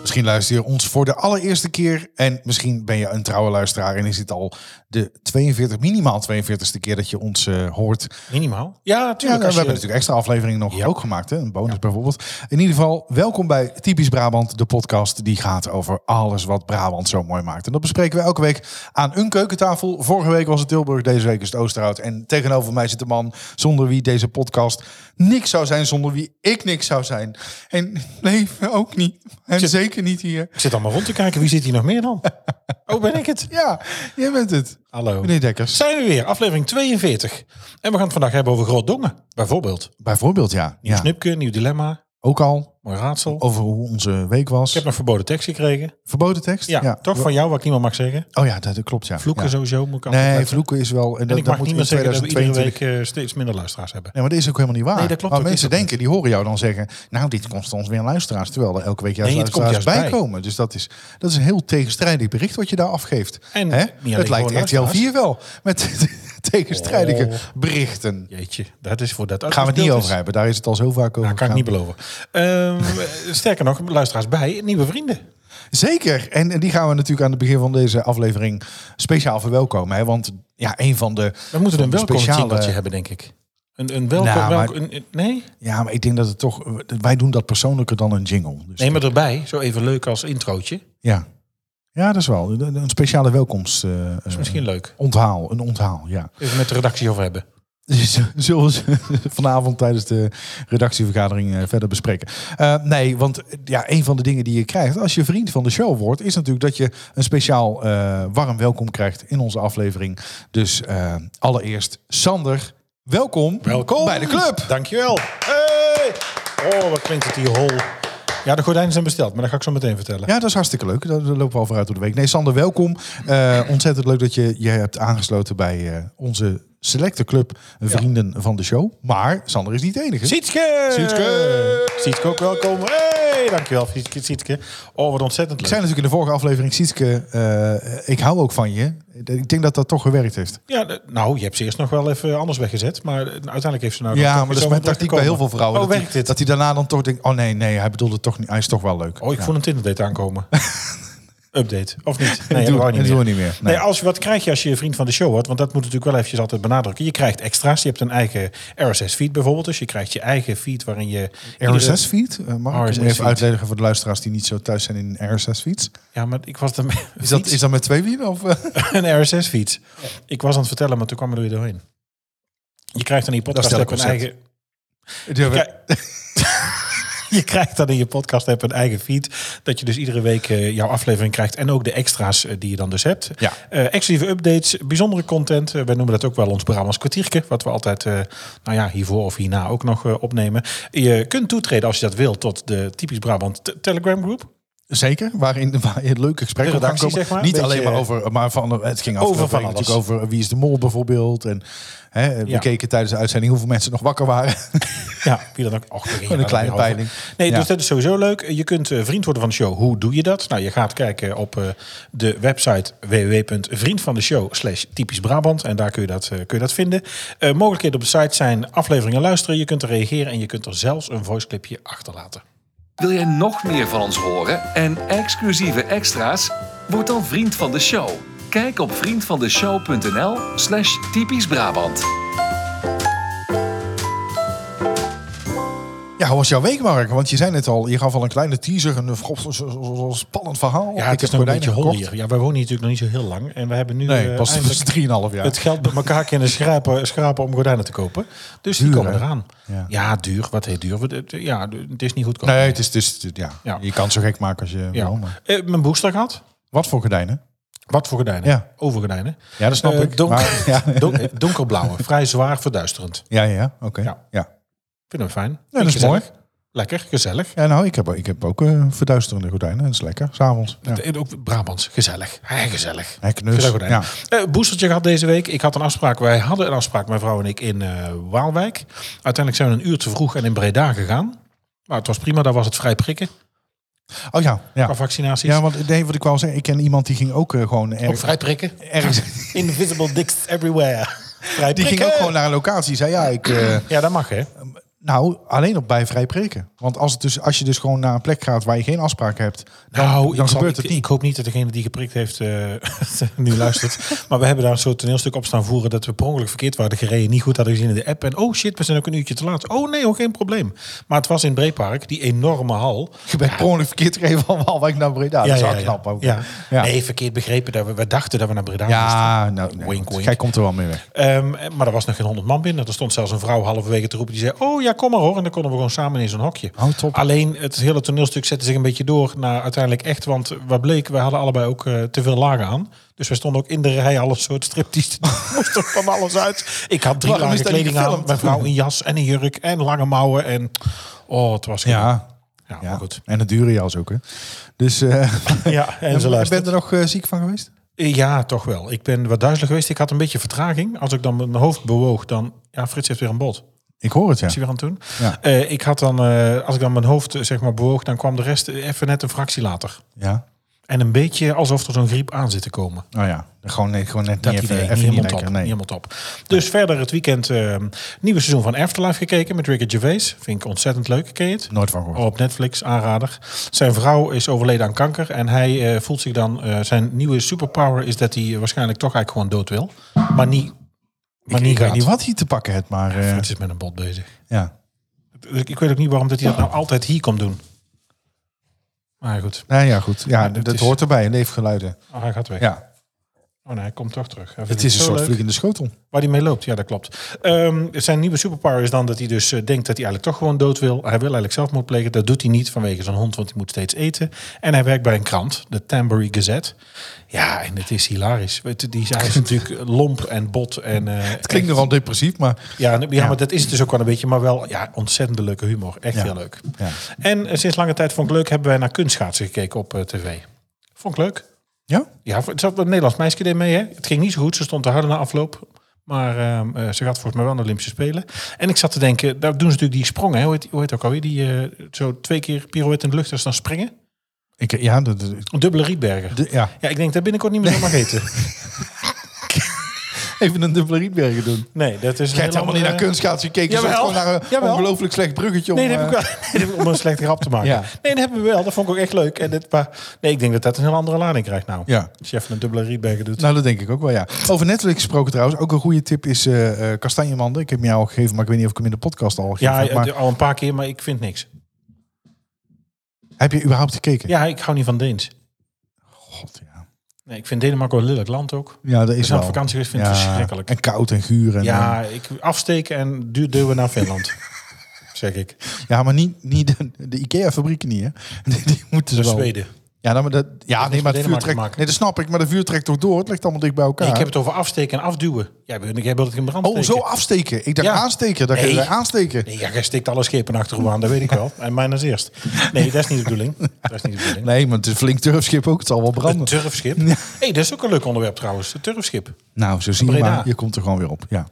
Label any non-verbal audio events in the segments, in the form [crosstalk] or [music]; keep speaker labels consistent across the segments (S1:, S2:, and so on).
S1: Misschien luister je ons voor de allereerste keer. En misschien ben je een trouwe luisteraar. En is dit al de 42, minimaal 42ste keer dat je ons eh, hoort.
S2: Minimaal? Ja, nou, eh,
S1: Ja,
S2: natuurlijk.
S1: we hebben natuurlijk extra afleveringen nog ook gemaakt. Hè? Een bonus bijvoorbeeld. In ieder geval, welkom bij Typisch Brabant. De podcast die gaat over alles wat Brabant zo mooi maakt. En dat bespreken we elke week aan een keukentafel. Vorige week was het Tilburg, deze week is het Oosterhout. En tegenover mij zit de man zonder wie deze podcast niks zou zijn. Zonder wie ik niks zou zijn. En [laughs] leven ook niet. En
S2: Zit-
S1: zeker niet hier.
S2: Ik zit allemaal rond te kijken. Wie zit hier nog meer
S1: [laughs]
S2: dan? Oh, ben ik het?
S1: Ja, jij bent het.
S2: Hallo.
S1: Meneer Dekkers.
S2: Zijn we weer, aflevering 42. En we gaan het vandaag hebben over Groot Dongen, bijvoorbeeld.
S1: Bijvoorbeeld, ja.
S2: Nieuw
S1: ja. Oh.
S2: snipke, nieuw dilemma,
S1: Ook al
S2: mooi raadsel.
S1: over hoe onze week was.
S2: Ik heb nog verboden tekst gekregen.
S1: Verboden tekst?
S2: Ja, toch van jou, wat ik niet meer mag zeggen.
S1: Oh ja, dat, dat klopt, ja.
S2: Vloeken
S1: Ja.
S2: sowieso moet ik
S1: Nee,
S2: afletten.
S1: vloeken is wel... En,
S2: En
S1: dat,
S2: ik
S1: dat
S2: mag
S1: moet
S2: niet
S1: in
S2: meer zeggen dat we iedere
S1: 2022.
S2: week eh, steeds minder luisteraars hebben.
S1: Nee, maar dat is ook helemaal niet waar.
S2: Nee, dat klopt
S1: Maar
S2: ook,
S1: mensen
S2: is dat
S1: denken, die horen jou dan zeggen... nou, dit kost ons weer luisteraars. Terwijl er elke week juist
S2: Nee, het komt
S1: luisteraars
S2: juist bij.
S1: bijkomen. Dus dat is, dat is een heel tegenstrijdig bericht wat je daar afgeeft.
S2: En
S1: Hè?
S2: niet alleen
S1: Het lijkt
S2: gewoon
S1: RTL 4 wel. Met [laughs] tegenstrijdige
S2: Oh.
S1: berichten.
S2: Jeetje, dat is voor dat
S1: Gaan we het niet
S2: uitgespeeld
S1: over
S2: is.
S1: hebben. Daar is het al zo vaak over
S2: Nou,
S1: gegaan.
S2: kan ik niet beloven. Ehm, [laughs] sterker nog, luisteraars bij, nieuwe vrienden.
S1: Zeker. En, en die gaan we natuurlijk aan het begin van deze aflevering speciaal verwelkomen. Hè? Want ja, een van de.
S2: Dan moeten we een
S1: van de
S2: welkom jingletje hebben, denk ik. Een, een welkom,
S1: Nou, maar-
S2: welkom- een- een- nee?
S1: Ja, maar ik denk dat het toch. Wij doen dat persoonlijker dan een jingle. Dus,
S2: Nee, maar erbij, zo even leuk als introotje.
S1: ja. ja, dat is wel. Een een speciale welkomst. eh, eh,
S2: Is misschien leuk.
S1: Onthaal, een onthaal, ja.
S2: Even met de redactie over hebben.
S1: Dus [laughs] Zullen we ze vanavond tijdens de redactievergadering eh, verder bespreken. Eh, nee, want eh, ja, een van de dingen die je krijgt als je vriend van de show wordt... is natuurlijk dat je een speciaal eh, warm welkom krijgt in onze aflevering. Dus eh, allereerst, Sander, welkom,
S2: Welkom
S1: bij de club.
S2: Dankjewel. Hey! Oh, wat klinkt het hier hol. Ja, de gordijnen zijn besteld, maar dat ga ik zo meteen vertellen.
S1: Ja, dat is hartstikke leuk. Daar daar lopen we al vooruit door de week. Nee, Sander, welkom. Eh, ontzettend leuk dat je je hebt aangesloten bij eh, onze selecte club Vrienden van de Show. Maar Sander is niet de enige.
S2: Sietske!
S1: Sietske!
S2: Sietske ook welkom. Hey, dankjewel Sietske. Sietske. Oh, wat ontzettend
S1: Ik
S2: leuk.
S1: zei natuurlijk in de vorige aflevering, Sietske, eh, ik hou ook van je. Ik denk dat dat toch gewerkt heeft.
S2: Ja, de- nou, je hebt ze eerst nog wel even anders weggezet, maar eh, uiteindelijk heeft ze nou...
S1: ja,
S2: toch
S1: maar
S2: weer
S1: dat is
S2: zo
S1: mijn
S2: terug
S1: tactiek bij heel
S2: gekomen.
S1: veel vrouwen.
S2: Oh,
S1: dat,
S2: werkt
S1: die,
S2: dit?
S1: dat die daarna dan toch denkt, oh nee, nee, hij bedoelde het toch niet, hij is toch wel leuk.
S2: Oh, ik voel een Tinder-date
S1: [laughs]
S2: aankomen. Update, of niet? Nee,
S1: doe-
S2: dat wou
S1: dat doen we niet meer. Nee.
S2: Nee. als, je- wat krijg je als je vriend van de show wordt? Want dat moet natuurlijk wel eventjes altijd benadrukken. Je krijgt extra's. Je hebt een eigen RSS-feed bijvoorbeeld. Dus je krijgt je eigen feed waarin je... iedere-
S1: RSS-feed? Eh, mag ik
S2: RSS
S1: hem even
S2: feed.
S1: uitleggen voor de luisteraars die niet zo thuis zijn in RSS-feeds?
S2: Ja, maar ik was dan
S1: [laughs] Is dat, is dat met twee wielen? Of, eh?
S2: [laughs]
S1: [laughs]
S2: een RSS-feed. Ik was aan het vertellen, maar toen kwam er weer doorheen. Je krijgt dan in je
S1: Dat is
S2: podcast app een
S1: teleconcept.
S2: eigen... Kijk- [laughs] Je krijgt dan in je podcast app een eigen feed. Dat je dus iedere week eh, jouw aflevering krijgt. En ook de extra's eh, die je dan dus hebt.
S1: Ja.
S2: Eh, exclusieve updates, bijzondere content. Eh, wij noemen dat ook wel ons Brabants kwartiertje. Wat we altijd, eh, nou ja, hiervoor of hierna ook nog eh, opnemen. Je kunt toetreden als je dat wilt tot de typisch Brabant te- Telegram groep.
S1: Zeker, waarin [laughs] waar je leuk gesprek
S2: De
S1: op kan
S2: redactie,
S1: komen.
S2: zeg maar.
S1: Niet
S2: Beetje-
S1: alleen maar over, maar van, het ging
S2: Over
S1: afgelopen
S2: van
S1: week
S2: alles.
S1: natuurlijk over eh, wie is de mol bijvoorbeeld. En hè, we
S2: Ja.
S1: keken tijdens de uitzending hoeveel mensen nog wakker waren.
S2: Ja, [laughs] wie dan ook. Och, daar ging je
S1: een
S2: dan
S1: kleine
S2: weer over.
S1: peiling.
S2: Nee,
S1: Ja.
S2: dus dat is sowieso leuk. Je kunt eh, vriend worden van de show. Hoe doe je dat? Nou, je gaat kijken op eh, de website www.vriendvandeshow slash typisch Brabant. En daar kun je dat, eh, kun je dat vinden. Eh, mogelijkheden op de site zijn afleveringen luisteren. Je kunt er reageren en je kunt er zelfs een voiceclipje achterlaten.
S3: Wil jij nog meer van ons horen en exclusieve extra's? Word dan vriend van de show. Kijk op vriendvandeshow.nl slash typisch Brabant.
S1: Ja, hoe was jouw week, Mark? Want je zei net al, je gaf al een kleine teaser, een goh, zo- zo- zo- zo spannend verhaal.
S2: Ja, het is nog een beetje hol
S1: gekocht.
S2: hier. Ja, wij wonen hier natuurlijk nog niet zo heel lang. En we hebben nu
S1: Nee,
S2: eh,
S1: pas
S2: eindelijk
S1: was dus- 3,5 jaar.
S2: het geld bij elkaar kunnen schrapen, schrapen om gordijnen te kopen. Dus
S1: Duur,
S2: die komen
S1: hè?
S2: eraan.
S1: Ja.
S2: Ja. duur. Wat heet duur? We- Ja, het is niet goedkoop.
S1: Nee, het is, het is- het- ja.
S2: Ja.
S1: je kan het zo gek maken als je
S2: Ja.
S1: wil. maar-
S2: Eh, mijn booster gehad.
S1: Wat voor gordijnen?
S2: Wat voor gordijnen?
S1: Ja.
S2: Overgordijnen.
S1: Ja, dat snap
S2: Eh,
S1: ik.
S2: donker-
S1: Maar, [laughs]
S2: [laughs]
S1: ja,
S2: don- eh, donkerblauwe. Vrij zwaar verduisterend.
S1: ja, ja, ja, oké. Ja.
S2: Ja.
S1: Ja.
S2: Vind hem fijn.
S1: dat
S2: Vind
S1: is
S2: ik gezellig.
S1: mooi.
S2: Lekker, gezellig.
S1: nou, ik heb, ik heb ook eh, verduisterende gordijnen. Dat is lekker, s'avonds. Ja.
S2: En Ook Brabants, gezellig. Hey, gezellig.
S1: Hey, knus.
S2: Gezellig gordijn.
S1: dus- Ja.
S2: Eh, boostertje gehad deze week. Ik had een afspraak. Wij hadden een afspraak, mijn vrouw en ik, in eh, Waalwijk. Uiteindelijk zijn we een uur te vroeg en in Breda gegaan. Maar het was prima, daar was het vrij prikken.
S1: Oh ja,
S2: qua
S1: ja.
S2: vaccinaties.
S1: Ja, want nee, wat ik wou zeggen, ik ken iemand die ging ook eh, gewoon
S4: Ook
S1: ergens...
S4: vrij prikken.
S1: [laughs] ergens
S2: Invisible dicks everywhere. Vrij
S1: die ging
S2: prikken.
S1: ook gewoon naar een locatie. Zei ja, ik... eh,
S2: Ja, dat mag hè.
S1: nou, alleen op bij vrij preken. Want als, het dus, als je dus gewoon naar een plek gaat waar je geen afspraak hebt... [laughs] Dan,
S2: Nou,
S1: dan
S2: ik zal-
S1: gebeurt
S2: ik-
S1: het niet.
S2: Ik hoop niet dat degene die geprikt heeft eh, [laughs] nu luistert. Maar we hebben daar een soort toneelstuk op staan voeren dat we per ongeluk verkeerd waren gereden, niet goed hadden gezien in de app. En oh shit, we zijn ook een uurtje te laat. Oh nee, hoor, geen probleem. Maar het was in Breepark, die enorme hal.
S1: Je bent per ongeluk verkeerd gegeven van Waalwijk naar Breda. Ah, dat is wel knap ook.
S2: Ja.
S1: Ja.
S2: Nee, verkeerd begrepen. Dat we, we dachten dat we naar Breda moesten.
S1: Ja, nou, nee,
S2: Wink,
S1: goed.
S2: wink.
S1: Jij komt er wel mee weg.
S2: Ehm, maar er was nog geen honderd man binnen. Er stond zelfs een vrouw halverwege te roepen. Die zei, oh ja, kom maar hoor. En dan konden we gewoon samen in zo'n hokje.
S1: Oh, top.
S2: Alleen het hele toneelstuk zette zich een beetje door naar uiteindelijk echt. Want wat bleek, we hadden allebei ook eh, te veel lagen aan. Dus we stonden ook in de rij alles soort striptease. [laughs] te doen. Er moest er van alles uit. Ik had drie
S1: Waarom is
S2: lagen
S1: dat niet
S2: kleding aan.
S1: gefilmd?
S2: Mijn vrouw een jas en een jurk en lange mouwen. En oh, het was gewoon-
S1: Ja,
S2: ja, maar
S1: ja.
S2: goed.
S1: en het dure jas ook, hè. Dus, [laughs] eh
S2: Ja, en ze
S1: ben
S2: luistert.
S1: je er nog eh, ziek van geweest?
S2: Eh, Ja, toch wel. Ik ben wat duizelig geweest. Ik had een beetje vertraging. Als ik dan mijn hoofd bewoog, dan... Ja, Frits heeft weer een bot.
S1: Ik hoor het, ja.
S2: Is hij weer aan het doen?
S1: Ja.
S2: Eh, ik had dan, eh, als ik dan mijn hoofd eh, zeg maar bewoog, dan kwam de rest eh, even net een fractie later.
S1: Ja.
S2: En een beetje alsof er zo'n griep aan zit te komen.
S1: Oh ja, gewoon, nee, gewoon net
S2: Dat
S1: niet even,
S2: idee,
S1: even
S2: niet
S1: niet
S2: helemaal,
S1: lekker.
S2: top,
S1: Nee.
S2: niet helemaal top. Dus verder het weekend eh, nieuwe seizoen van Afterlife gekeken met Ricky Gervais. Vind ik ontzettend leuk. Ken je het?
S1: Nooit van gehoord.
S2: Op Netflix, aanrader. Zijn vrouw is overleden aan kanker. En hij eh, voelt zich dan... eh, zijn nieuwe superpower is dat hij eh, waarschijnlijk toch eigenlijk gewoon dood wil. Maar niet... Maar
S1: ik
S2: oh, niet
S1: weet
S2: gaat.
S1: niet wat hij te pakken heeft, maar eh,
S2: Het is met een bot bezig.
S1: ja.
S2: Ik, ik weet ook niet waarom dat hij
S1: Oh.
S2: dat nou altijd hier komt doen. Maar goed,
S1: Nou ja, goed. Ja,
S2: dat
S1: dat,
S2: is-
S1: hoort erbij, leefgeluiden.
S2: oh, hij gaat weg.
S1: Ja,
S2: Oh nee, hij komt toch terug. Hij vindt
S1: het is een
S2: zo
S1: soort
S2: leuk.
S1: vliegende schotel.
S2: Waar hij mee loopt, ja dat klopt. Ehm, zijn nieuwe superpower is dan dat hij dus eh, denkt dat hij eigenlijk toch gewoon dood wil. Hij wil eigenlijk zelfmoord plegen. Dat doet hij niet vanwege zijn hond, want hij moet steeds eten. En hij werkt bij een krant, de Tambury Gazette. Ja, en het is hilarisch. Weet je, Die
S1: [laughs]
S2: hij is natuurlijk lomp en bot. En, eh,
S1: Het klinkt nogal depressief, maar
S2: Ja, en- ja,
S1: Ja.
S2: maar dat is het dus ook wel een beetje. Maar wel ja, ontzettend leuke humor. Echt
S1: Ja.
S2: heel leuk.
S1: Ja.
S2: En eh, sinds lange tijd vond ik leuk, hebben wij naar kunstschaatsen gekeken op eh, tv. Vond ik leuk.
S1: ja.
S2: Ja, het zat een Nederlands meisje deed mee. Hè? Het ging niet zo goed. Ze stond te harde na afloop. Maar ehm, eh, ze gaat volgens mij wel naar de Olympische Spelen. En ik zat te denken, daar doen ze natuurlijk die sprongen. Hè? Hoe, heet, hoe heet ook alweer? Die eh, zo twee keer pirouette in de lucht en ze dan springen.
S1: Ik, ja, de, de-
S2: Een dubbele rietberger.
S1: de- ja,
S2: Ja, ik denk dat binnenkort niet meer [laughs] zo mag eten.
S1: even een dubbele rietbergen doen.
S2: Nee, dat is een
S1: Je hebt
S2: hele
S1: helemaal niet naar
S2: andere-
S1: kunstkaats gekeken. Je zat
S2: eh, Jawel.
S1: gewoon naar een
S2: Jawel.
S1: ongelooflijk slecht bruggetje om...
S2: Nee, dat heb ik
S1: eh,
S2: wel. [laughs] Nee, dat heb ik om een slechte grap te maken.
S1: Ja.
S2: Nee, dat hebben we wel. Dat vond ik ook echt leuk. En dit, maar, nee, ik denk dat dat een heel andere lading krijgt nou.
S1: Ja.
S2: Als je even een dubbele rietberger doet.
S1: Nou, dat denk ik ook wel, ja. Over Netflix gesproken trouwens. Ook een goede tip is eh eh kastanjemanden. Ik heb hem jou al gegeven, maar ik weet niet of ik hem in de podcast al gegeven
S2: ja, eh,
S1: heb. Maar
S2: al een paar keer, maar ik vind niks.
S1: heb je überhaupt gekeken?
S2: Ja, ik hou niet van Deens.
S1: God, ja.
S2: Nee, ik vind Denemarken wel een lelijk land ook.
S1: Ja, dat
S2: Ik
S1: is
S2: ben
S1: wel.
S2: op vakantie geweest, vind ik het verschrikkelijk.
S1: En koud en guur. En, ja.
S2: Ja, ik afsteken en duur deuren naar
S1: [laughs]
S2: Finland. zeg ik.
S1: ja, maar niet, niet de, de IKEA-fabrieken niet, hè? [laughs] Die, die moeten ze
S2: Dus
S1: wel.
S2: Zweden.
S1: Ja, nou, maar dat, ja nee, maar het vuur
S2: Denemarken te
S1: trekt...
S2: maken.
S1: Nee, dat snap ik, maar de vuur trekt toch door. Het ligt allemaal dicht bij elkaar.
S2: Nee, ik heb het over afsteken en afduwen. Jij bent jij wilt het in brand
S1: Oh, zo
S2: steken.
S1: afsteken. Ik dacht
S2: Ja.
S1: aansteken. Dat
S2: Nee.
S1: je aansteken.
S2: Nee, ja, jij steekt alle schepen achterover aan, dat weet ik wel. En mij als eerst. Nee, dat is niet de bedoeling. Dat is niet de
S1: [laughs]
S2: bedoeling.
S1: Nee, maar het is een flink turfschip ook. Het zal wel
S2: Een
S1: branden. [laughs]
S2: turfschip. hey, dat is ook een leuk onderwerp trouwens. Het turfschip.
S1: Nou, zo zie je
S2: Breda.
S1: maar. Je komt er gewoon weer op, ja.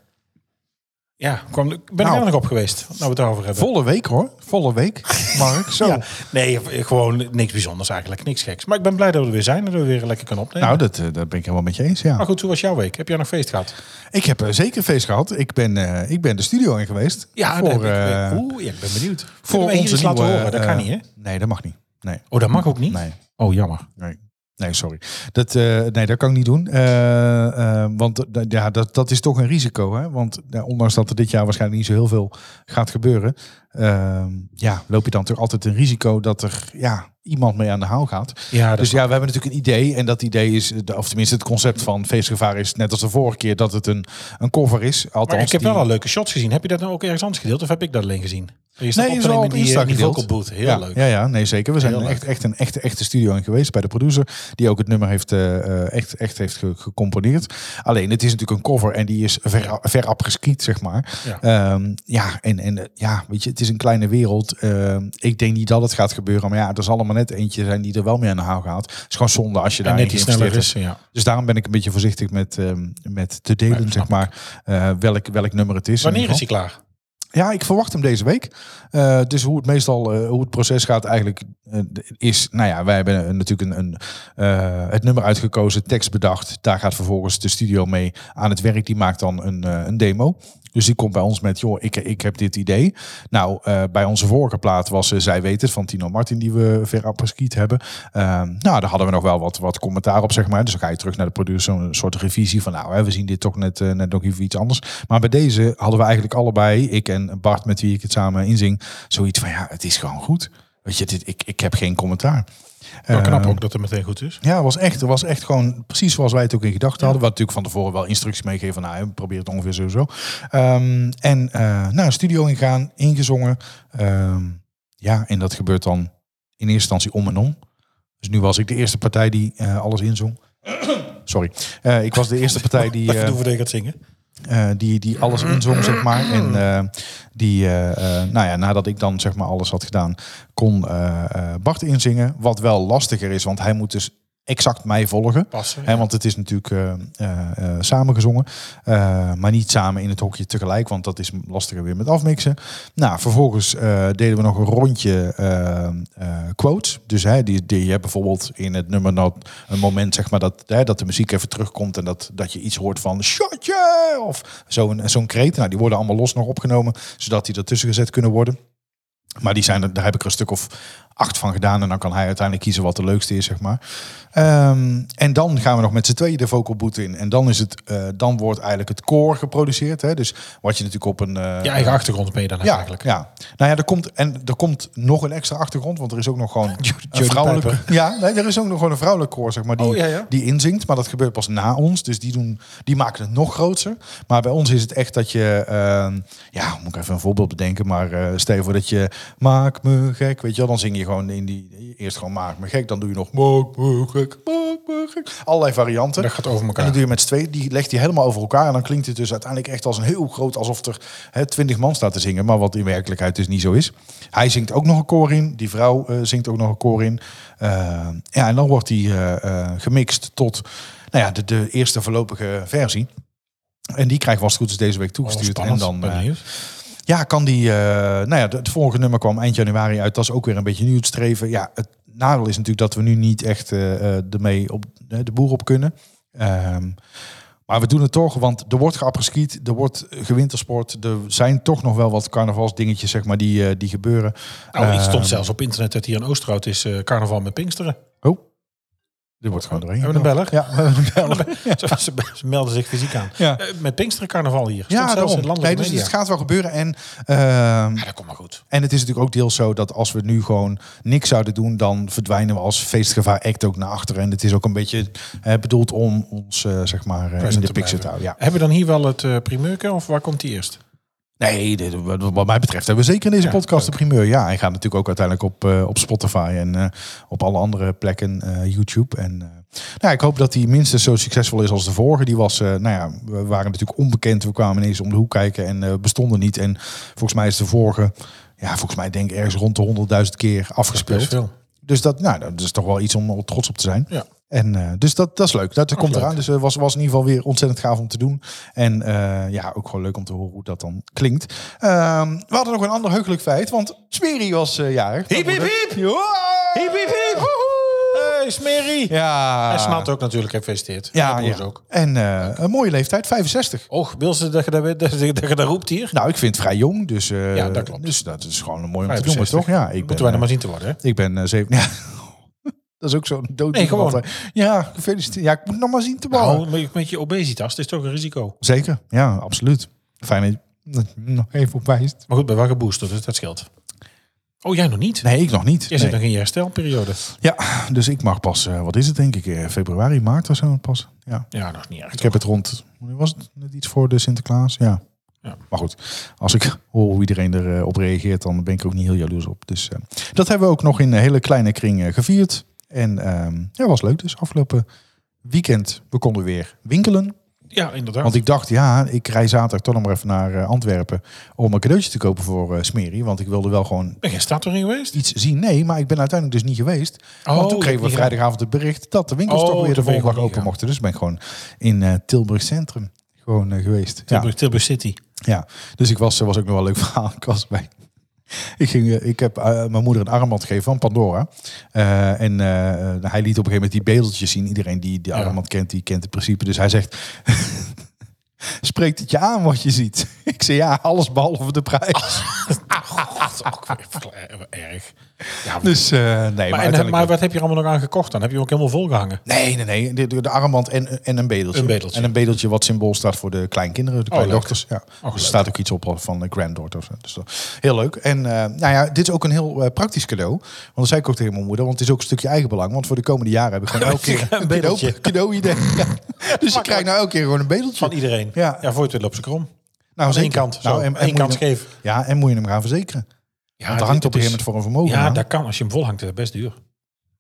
S2: Ja, kwam, ben ik er nog op geweest. Nou, we het daarover hebben.
S1: Volle week, hoor. Volle
S2: [laughs]
S1: week, Mark. Zo.
S2: Ja. Nee, gewoon niks bijzonders eigenlijk. Niks geks. Maar ik ben blij dat we er weer zijn. En dat we weer lekker kunnen opnemen.
S1: Nou, dat, eh, dat ben ik helemaal met je eens, ja.
S2: maar goed, hoe was jouw week? Heb jij nog feest gehad?
S1: Ik heb eh, zeker feest gehad. Ik ben, eh, ik ben de studio in geweest.
S2: dat
S1: voor,
S2: heb ik.
S1: eh,
S2: Oeh, ja, ik ben benieuwd.
S1: voor
S2: Kunnen we hier
S1: onze
S2: iets laten
S1: nieuwe,
S2: horen? Dat
S1: eh,
S2: kan niet, hè?
S1: Nee, dat mag niet. Nee,
S2: Oh, dat mag ook niet?
S1: nee,
S2: Oh, jammer.
S1: nee. Nee, sorry. Dat, eh, nee, dat kan ik niet doen. Eh, eh, want eh, d- ja, dat, dat is toch een risico. Hè? Want ja, ondanks dat er dit jaar waarschijnlijk niet zo heel veel gaat gebeuren. eh, ja, loop je dan toch altijd een risico dat er ja, iemand mee aan de haal gaat.
S2: Ja, dat
S1: dus
S2: is-
S1: ja, we hebben natuurlijk een idee. En dat idee is, eh, de- of tenminste het concept van feestgevaar is net als de vorige keer dat het een, een cover is. Althans,
S2: maar ik heb
S1: die-
S2: wel al leuke shots gezien. Heb je dat nou ook ergens anders gedeeld? Of heb ik dat alleen gezien? Je staat
S1: Nee,
S2: op
S1: is
S2: te
S1: wel
S2: nemen
S1: op
S2: in die,
S1: Insta
S2: eh, die
S1: gedeeld.
S2: vocal booth. Heel
S1: ja,
S2: leuk.
S1: Ja, ja, nee, zeker. We zijn
S2: Heel leuk.
S1: echt, echt een echte, echte studio in geweest bij de producer. Die ook het nummer heeft, eh, eh, echt, echt heeft ge- gecomponeerd. Alleen, het is natuurlijk een cover en die is ver, ver geskiet, zeg maar.
S2: Ja.
S1: Ja, ja en, en eh, ja, weet je, het is een kleine wereld. Ehm, ik denk niet dat het gaat gebeuren. Maar ja, er zal allemaal net eentje zijn die er wel mee aan de haal gaat. Het is gewoon zonde als je daar
S2: En net die sneller is. Ja.
S1: Dus daarom ben ik een beetje voorzichtig met, ehm, met te delen,
S2: Ja,
S1: zeg
S2: snap
S1: maar, eh, welk, welk nummer het is. in
S2: Wanneer
S1: ieder
S2: is
S1: geval.
S2: hij klaar?
S1: Ja, ik verwacht hem deze week. Eh, dus hoe het meestal, eh, hoe het proces gaat eigenlijk eh, is... Nou ja, wij hebben een- natuurlijk een, een, eh, het nummer uitgekozen, tekst bedacht. Daar gaat vervolgens de studio mee aan het werk. Die maakt dan een, eh, een demo. Dus die komt bij ons met, joh, ik, ik heb dit idee. Nou, eh, bij onze vorige plaat was eh, Zij weet het van Tino Martin, die we verapreskiet hebben. Eh, nou, daar hadden we nog wel wat, wat commentaar op, zeg maar. Dus dan ga je terug naar de producer, een soort revisie van, nou, hè, we zien dit toch net, eh, net nog even iets anders. Maar bij deze hadden we eigenlijk allebei, ik en Bart, met wie ik het samen inzing, zoiets van, ja, het is gewoon goed. Weet je, dit, ik, ik heb geen commentaar.
S2: Maar
S1: Eh,
S2: knap ook dat het meteen goed is.
S1: ja, het was echt, het was echt gewoon precies zoals wij het ook in gedachten hadden. We hadden natuurlijk van tevoren wel instructies meegegeven. van, Nou, probeer het ongeveer sowieso. Ehm, en eh nou, studio ingaan, ingezongen. Ehm, ja, en dat gebeurt dan in eerste instantie om en om. Dus nu was ik de eerste partij die eh, alles inzong. [coughs] Sorry. Eh, ik was de eerste partij die...
S2: Wat
S1: eh,
S2: doen we tegen het zingen?
S1: eh, die, die alles inzong, zeg maar. En eh, die, eh, eh, nou ja, nadat ik dan zeg maar alles had gedaan, kon eh, eh, Bart inzingen. Wat wel lastiger is, want hij moet dus exact mij volgen.
S2: Passen.
S1: Hè, want het is natuurlijk eh eh, eh, samen gezongen. Eh, maar niet samen in het hokje tegelijk. Want dat is lastiger weer met afmixen. Nou, vervolgens eh, deden we nog een rondje eh, eh, quotes. Dus hè, die, die je bijvoorbeeld in het nummer nou een moment zeg maar, dat, hè, dat de muziek even terugkomt. En dat, dat je iets hoort van shotje of zo'n zo'n kreet. Nou, die worden allemaal los nog opgenomen. Zodat die ertussen gezet kunnen worden. Maar die zijn, er- daar heb ik er een stuk of acht van gedaan. En dan kan hij uiteindelijk kiezen wat de leukste is, zeg maar. Ehm, en dan gaan we nog met z'n tweeën de vocal boot in. En dan, is het, eh, dan wordt eigenlijk het koor geproduceerd. Hè? Dus wat je natuurlijk op een... eh,
S2: Je eigen achtergrond ben je dan
S1: ja,
S2: eigenlijk.
S1: Ja. Nou ja, er komt, en er komt nog een extra achtergrond, want er is ook nog
S2: [laughs]
S1: gewoon een
S2: Jodie
S1: vrouwelijke. Ja, nee, er is ook nog gewoon een vrouwelijk koor, zeg maar, die,
S2: Oh, ja, ja.
S1: die inzingt. Maar dat gebeurt pas na ons. Dus die, doen, die maken het nog groter. Maar bij ons is het echt dat je. ehm, ja, moet ik even een voorbeeld bedenken. Maar eh stel je voor dat je. Maak me gek. Weet je wel, dan zing je gewoon in die. Eerst gewoon maak me gek. Dan doe je nog. Maak me gek. Maak me gek. Allerlei varianten.
S2: Dat gaat over
S1: En
S2: elkaar.
S1: dat doe je met z'n tweeën. Die legt die helemaal over elkaar. En dan klinkt het dus uiteindelijk echt als een heel groot... alsof er hè, 20 man staat te zingen. Maar wat in werkelijkheid dus niet zo is. Hij zingt ook nog een koor in. Die vrouw eh, zingt ook nog een koor in. Eh, ja, en dan wordt die eh, eh, gemixt tot nou ja, de, de eerste voorlopige versie. En die krijgen we als het goed is deze week toegestuurd.
S2: Oh,
S1: en dan eh, ja, kan die. eh, nou ja, de- het volgende nummer kwam eind januari uit. Dat is ook weer een beetje nieuw te streven. Ja, het nadeel is natuurlijk dat we nu niet echt eh eh, ermee op eh, de boer op kunnen. Ehm, maar we doen het toch, want er wordt geappreskiet, er wordt gewintersport. Er zijn toch nog wel wat carnavalsdingetjes, zeg maar, die, eh, die gebeuren.
S2: nou, iets stond
S1: Ehm,
S2: zelfs op internet dat hier in Oosterhout is eh, carnaval met Pinksteren.
S1: Oh, er wordt gewoon doorheen.
S2: Hebben we een beller?
S1: [laughs] Ja, we hebben een beller.
S2: [laughs] Ze, ze, ze melden zich fysiek aan.
S1: Ja.
S2: Eh, met Pinksteren carnaval hier. Stond
S1: Ja,
S2: zelfs in
S1: daarom.
S2: landelijke
S1: Nee, dus
S2: media.
S1: het gaat wel gebeuren. En ehm,
S2: Ja, dat komt maar goed.
S1: En het is natuurlijk ook deels zo dat als we nu gewoon niks zouden doen, dan verdwijnen we als feestgevaar act ook naar achteren. En het is ook een beetje eh, bedoeld om ons, eh, zeg maar, eh, in
S2: Present
S1: de
S2: te
S1: picture te
S2: blijven.
S1: houden. Ja.
S2: Hebben we dan hier wel het eh primeurke of waar komt die eerst?
S1: Nee, dit- wat wat mij betreft hebben we zeker in deze
S2: Ja,
S1: podcast de primeur. Ja, en gaat natuurlijk ook uiteindelijk op, eh, op Spotify en eh, op alle andere plekken, eh, YouTube. En eh, nou, ja, ik hoop dat die minstens zo succesvol is als de vorige. Die was, eh, nou ja, we waren natuurlijk onbekend. We kwamen ineens om de hoek kijken en eh, bestonden niet. En volgens mij is de vorige, ja, volgens mij denk ik ergens rond de 100.000 keer afgespeeld.
S2: veel.
S1: Dus dat, nou, dat is toch wel iets om al trots op te zijn.
S2: Ja.
S1: En eh, dus dat, dat is leuk. Dat komt
S2: leuk.
S1: eraan. Dus het was, was in ieder geval weer ontzettend gaaf om te doen. En eh, ja, ook gewoon leuk om te horen hoe dat dan klinkt. Ehm, we hadden nog een ander heugelijk feit. Want Smeri was eh, jarig.
S2: Hiep, hiep, hiep! Hiep, hiep, hiep! Hey, Smerrie!
S1: Ja.
S2: Hij snapt ook natuurlijk, gefeliciteerd.
S1: Ja,
S2: dat doen
S1: ja.
S2: ze ook.
S1: En eh, een mooie leeftijd, 65.
S2: Och, wil ze dat je daar, dat, je- dat je daar roept hier?
S1: Nou, ik vind het vrij jong. Dus, eh,
S2: Ja, dat klopt.
S1: dus dat is gewoon een mooi om te noemen, toch? Ja, ik ben,
S2: Moeten wij
S1: eh,
S2: nog maar zien te worden, hè?
S1: Ik ben eh, zeven. [laughs] Ja. Dat is ook zo'n dood.
S2: Nee, gewoon.
S1: iemand, hè. Ja, gefeliciteerd. Ja, ik moet nog maar zien te bouwen.
S2: Nou, met- met je obesitas, het is toch een risico.
S1: Zeker, ja, absoluut. Fijn dat je dat je me nog even op wijst.
S2: Maar goed, bij welke booster, dus dat scheelt. Oh, jij nog niet?
S1: Nee, ik nog niet.
S2: Jij zit
S1: Nee.
S2: nog in je herstelperiode.
S1: Ja, dus ik mag pas, eh, wat is het denk ik, eh, februari, maart of zo pas. Ja.
S2: Ja, nog niet echt.
S1: Ik heb het rond, wanneer was het net iets voor de Sinterklaas? Ja.
S2: Ja.
S1: Maar goed, als ik hoor hoe iedereen erop op reageert, dan ben ik er ook niet heel jaloers op. Dus eh, dat hebben we ook nog in een hele kleine kring eh, gevierd. En ehm ja, was leuk dus. Afgelopen weekend, we konden weer winkelen.
S2: Ja, inderdaad.
S1: Want ik dacht, ja, ik rij zaterdag toch nog maar even naar eh, Antwerpen om een cadeautje te kopen voor eh Smeri. Want ik wilde wel gewoon
S2: Ben jij staat erin geweest?
S1: iets zien. Nee, maar ik ben uiteindelijk dus niet geweest.
S2: Oh,
S1: want toen
S2: dat
S1: kregen we
S2: niet
S1: vrijdagavond het bericht dat de winkels
S2: Oh,
S1: toch weer de
S2: toen ben je
S1: volgende dag
S2: gewoon
S1: open
S2: niet
S1: mochten. Dus ben ik gewoon in eh, Tilburg Centrum gewoon eh, geweest.
S2: Tilburg, Tilburg City.
S1: Ja. Ja, dus ik was, was ook nog wel een leuk [laughs] verhaal. Ik was bij. Ik, ging, eh, ik heb eh, mijn moeder een armband gegeven van Pandora. Eh, en eh, hij liet op een gegeven moment die bedeltjes zien. Iedereen die die
S2: Ja.
S1: armband kent, die kent het principe. Dus hij zegt, [laughs] spreekt het je aan wat je ziet? [laughs] Ik zei, ja, alles behalve de prijs.
S2: God, Ah, ook weer verkle- erg. Ja,
S1: Dus eh, nee,
S2: maar,
S1: maar,
S2: en,
S1: uiteindelijk...
S2: maar wat heb je er allemaal nog aan gekocht dan? Heb je hem ook helemaal volgehangen?
S1: Nee, nee, nee. De, de- de armband en, en een bedeltje.
S2: Een bedeltje.
S1: En een bedeltje wat symbool staat voor de kleinkinderen, de
S2: Oh, leuk.
S1: kleindochters. Ja.
S2: leuk.
S1: dus er staat ook iets op van de granddaughter. of zo. Dus dat- heel leuk. En eh, nou ja, dit is ook een heel eh, praktisch cadeau. Want dat zei ik ook tegen mijn moeder. Want het is ook een stukje eigenbelang. Want voor de komende jaren heb ik
S2: [laughs]
S1: gewoon elke keer een [laughs] cadeau,
S2: bedeltje. [laughs]
S1: cadeau-idee. Ja. Dus ik krijg nou elke keer gewoon een bedeltje.
S2: Van iedereen.
S1: Ja.
S2: ja voor je het weer loopt ze krom.
S1: nou,
S2: één kant, zo. Eén
S1: moet je
S2: kant
S1: hem-
S2: scheef.
S1: Ja, en moet je hem gaan verzekeren.
S2: Ja,
S1: want dat hangt op een gegeven moment voor een vermogen.
S2: Ja,
S1: aan.
S2: dat kan. Als je hem volhangt, is dat best duur.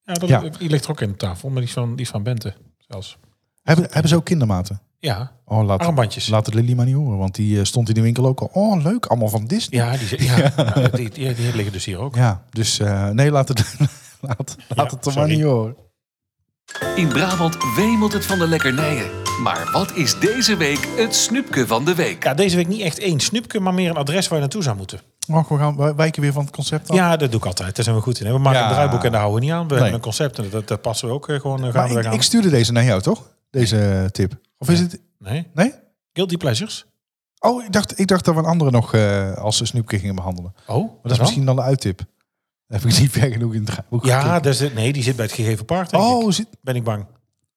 S2: Ja, dat,
S1: Ja.
S2: die ligt er ook in de tafel. Maar die is van, die is van Bente zelfs.
S1: hebben, hebben ze ook kindermaten?
S2: Ja,
S1: Oh, laat,
S2: armbandjes.
S1: laat het Lily maar niet horen. Want die eh, stond in de winkel ook al. Oh, leuk. Allemaal van Disney.
S2: Ja, die,
S1: [laughs]
S2: ze- ja, ja, die, die, die liggen dus hier ook.
S1: Ja, dus eh, nee, laat het, [laughs] laat, laat het er maar
S2: sorry.
S1: niet hoor.
S3: In Brabant wemelt het van de lekkernijen. Maar wat is deze week het snoepje van de week?
S2: Ja, deze week niet echt één snoepje, maar meer een adres waar je naartoe zou moeten.
S1: Mag we gaan wij- wijken weer van het concept af?
S2: Ja, dat doe ik altijd. Daar zijn we goed in. hè. We maken
S1: Ja.
S2: een draaiboek en daar houden we niet aan. We hebben een concept en dat, dat passen we ook eh, gewoon eh, gaan
S1: maar
S2: we
S1: ik,
S2: aan.
S1: ik stuurde deze naar jou, toch? Deze tip. Of is het...
S2: nee?
S1: Nee?
S2: Guilty Pleasures?
S1: Oh, ik dacht, ik dacht dat we een andere nog eh, als een snoepje gingen behandelen. Maar
S2: Oh, wat
S1: dat is misschien dan de uittip. Dan heb ik niet [laughs] ver genoeg in het draaiboek
S2: Ja,
S1: gekeken.
S2: dat is het, nee, die zit bij het gegeven paard, denk ik.
S1: Oh, zit,
S2: Ben ik bang.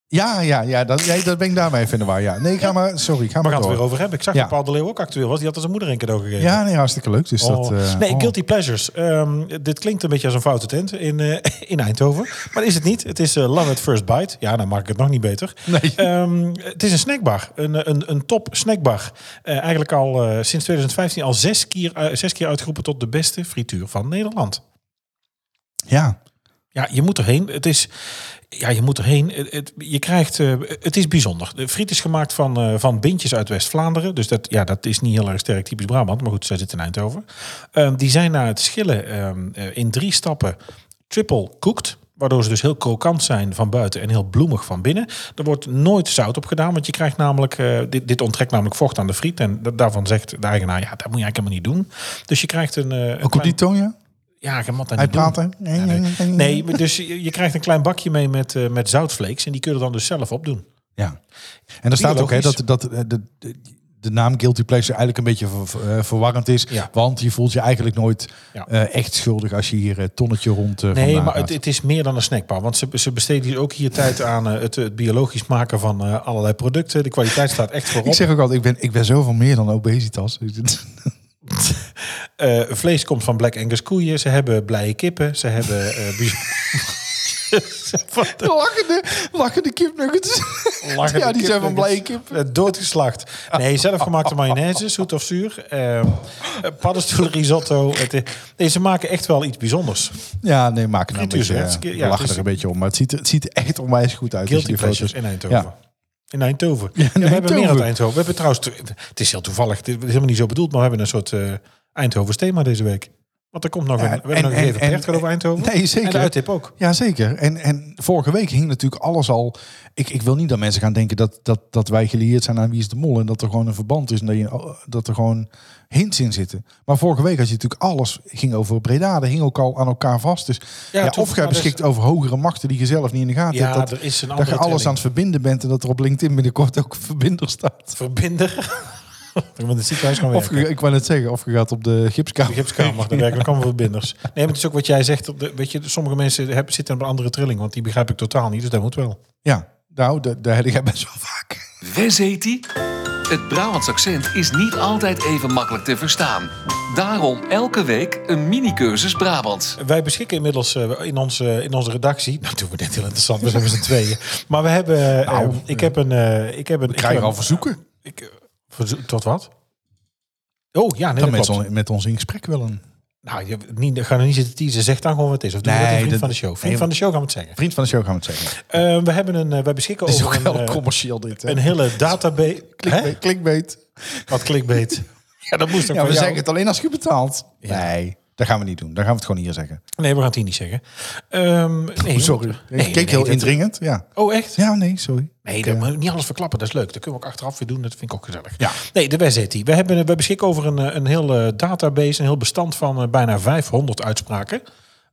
S1: ja, ja, ja. Dat, ja, dat ben ik daarmee even in de war. Ja. Nee, ga maar... Sorry, ga
S2: We
S1: maar,
S2: gaan het weer
S1: door.
S2: over hebben. Ik zag
S1: Ja.
S2: dat Paul de Leeuw ook actueel was. Die had er zijn moeder een cadeau gegeven.
S1: Ja, nee, hartstikke leuk. Dus dat,
S2: Oh.
S1: eh,
S2: nee,
S1: oh.
S2: Guilty Pleasures. Ehm, dit klinkt een beetje als een foute tent in, eh, [laughs] in Eindhoven. Maar is het niet. Het is eh, Love at First Bite. Ja, dan maak ik het nog niet beter.
S1: Nee.
S2: Ehm, het is een snackbar. Een, eh, een, een top snackbar. Eh, eigenlijk al eh, sinds 2015 al zes keer, eh, zes keer uitgeroepen tot de beste frituur van Nederland.
S1: Ja,
S2: Ja, je moet erheen. Het is, ja, je moet erheen. Het, het- je krijgt, eh, het is bijzonder. De friet is gemaakt van, eh, van bintjes uit West-Vlaanderen. Dus dat, ja, dat is niet heel erg sterk typisch Brabant. Maar goed, zij zitten in Eindhoven. Ehm, die zijn na het schillen ehm, eh, in drie stappen triple cooked. Waardoor ze dus heel krokant zijn van buiten en heel bloemig van binnen. Er wordt nooit zout op gedaan, want je krijgt namelijk, eh, dit, dit onttrekt namelijk vocht aan de friet. En da- daarvan zegt de eigenaar, ja, dat moet je eigenlijk helemaal niet doen. Dus je krijgt een... eh, een
S1: ook op die
S2: klein-
S1: toon, ja?
S2: Ja, je mag dat
S1: Hij
S2: niet doen.
S1: praat, hè? Nee, nee, nee.
S2: Nee, maar dus je, je krijgt een klein bakje mee met, eh, met zoutflakes. En die kun je er dan dus zelf opdoen.
S1: Ja. En er staat ook hè, dat,
S2: Biologisch.
S1: dat eh, de, de, de naam guilty pleasure eigenlijk een beetje ver- ver- eh, verwarrend is.
S2: Ja.
S1: Want je voelt je eigenlijk nooit
S2: Ja.
S1: eh, echt schuldig als je hier eh, tonnetje rond eh
S2: Nee,
S1: vandaan
S2: maar
S1: gaat.
S2: het, het is meer dan een snackbar. Want ze, ze besteden hier ook hier tijd aan eh, het, het biologisch maken van eh, allerlei producten. De kwaliteit staat echt voorop.
S1: ik zeg ook altijd, ik ben, ik ben zoveel meer dan obesitas. [laughs]
S2: Eh, vlees komt van Black Angus koeien. Ze hebben blije kippen. Ze hebben... eh, [laughs] bijz- Wat een
S1: lachende, lachende kipnuggets. [laughs]
S2: lachende
S1: ja, die zijn van
S2: kipnuggets.
S1: blije kip.
S2: Eh, Doodgeslacht. Nee, zelfgemaakte mayonaise, zoet of zuur. Eh, eh, Paddenstoelenrisotto. Het, eh, nee, ze maken echt wel iets bijzonders.
S1: Ja, nee, maak er nou een
S2: Frituur,
S1: beetje,
S2: hè? Het is-
S1: eh,
S2: ja,
S1: we lachen
S2: het is-
S1: er een beetje om. Maar het ziet, er- het ziet er echt onwijs goed uit. als je
S2: Guilty
S1: die
S2: Pleasures
S1: foto's-
S2: in Eindhoven.
S1: Ja.
S2: In Eindhoven.
S1: [laughs] Ja, in
S2: Ja, we hebben meer
S1: Eindhoven.
S2: uit Eindhoven. We hebben trouwens, het is heel toevallig, het is helemaal niet zo bedoeld, maar we hebben een soort eh Eindhovens thema deze week. Want er komt nog een, we hebben
S1: en-
S2: nog een
S1: en-
S2: gegeven
S1: en-
S2: Bert gaat over Eindhoven.
S1: Nee, zeker.
S2: En de uittip ook.
S1: Jazeker. En, en vorige week hing natuurlijk alles al. Ik, ik wil niet dat mensen gaan denken dat, dat, dat wij gelieerd zijn aan wie is de mol. En dat er gewoon een verband is. En dat, je, oh, dat er gewoon hints in zitten. Maar vorige week had je natuurlijk alles. Ging over Breda. Dat hing ook al aan elkaar vast. Dus ja,
S2: Ja, toen-
S1: of jij
S2: maar
S1: beschikt over hogere machten die je zelf niet in de gaten
S2: Ja,
S1: hebt. Dat,
S2: er is een
S1: dat je
S2: andere
S1: alles
S2: telling.
S1: aan het verbinden bent. En dat er op LinkedIn binnenkort ook een verbinder staat.
S2: Verbinder. [laughs] Dan moet het ziekenhuis gaan
S1: Of
S2: werken.
S1: je- ik wou net zeggen, of je gaat op de gipskamer.
S2: De gipskamer, daar werken ook allemaal verbinders. Nee, maar het is ook wat jij zegt. op de- Weet je, sommige mensen hebben, zitten op een andere trilling, want die begrijp ik totaal niet. Dus dat moet wel.
S1: Ja, nou, da- daar heb ik best wel vaak.
S3: Wes heet die? Het Brabants accent is niet altijd even makkelijk te verstaan. Daarom elke week een mini-cursus Brabants.
S2: Wij beschikken inmiddels eh, in, onze, in onze redactie. [laughs] Nou, doen we dit heel interessant. We zijn met z'n tweeën. Maar we hebben. eh,
S1: Nou,
S2: eh, ik heb een. eh, ik heb een.
S1: We krijgen
S2: ik,
S1: al
S2: heb een-
S1: verzoeken.
S2: ik, eh, verzoek- tot wat? Oh ja, nee,
S1: Dan
S2: dat
S1: met,
S2: klopt.
S1: ons- met ons in gesprek willen.
S2: Nou, je, niet, ga er niet zitten teasen. Zeg dan gewoon wat het is. Of doe
S1: Nee,
S2: nee, dat een vriend
S1: dat-
S2: van de show. Vriend
S1: nee,
S2: van de show gaan we het zeggen.
S1: Vriend van de show gaan we het zeggen.
S2: Eh, we hebben een. eh, wij beschikken
S1: Het is ook
S2: over
S1: wel
S2: een, eh,
S1: commercieel dit. Hè?
S2: een hele
S1: [laughs]
S2: database. Hè?
S1: Clickbait. clickbait.
S2: Wat clickbait. ja, dat moest
S1: [laughs]
S2: ook
S1: Ja,
S2: van
S1: we
S2: jou.
S1: zeggen het alleen als je betaalt.
S2: Ja.
S1: Nee. Dat gaan we niet doen. Dat gaan we het gewoon hier zeggen.
S2: Nee, we gaan het hier niet zeggen. Ehm, nee,
S1: sorry.
S2: want-
S1: ik keek
S2: nee,
S1: heel
S2: dat-
S1: indringend. Ja.
S2: Oh, echt?
S1: ja, nee, sorry.
S2: Nee,
S1: Ik,
S2: dat
S1: eh,
S2: moet niet alles verklappen. Dat is leuk. Dat kunnen we ook achteraf weer doen. Dat vind ik ook gezellig.
S1: Ja.
S2: Nee, de wet heet die. We, hebben, we beschikken over een, eh, een heel eh, database, een heel bestand van eh, bijna 500 uitspraken.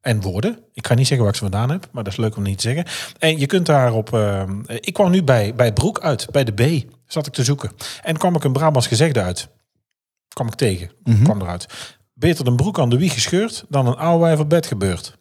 S2: En woorden. Ik ga niet zeggen waar ik ze vandaan heb, maar dat is leuk om niet te zeggen. En je kunt daarop... eh, ik kwam nu bij, bij Broek uit, bij de B. Zat ik te zoeken. En kwam ik een Brabants gezegde uit. Kwam ik tegen. Kwam eruit. Beter een broek aan de wieg gescheurd dan een oude wijf op bed gebeurd.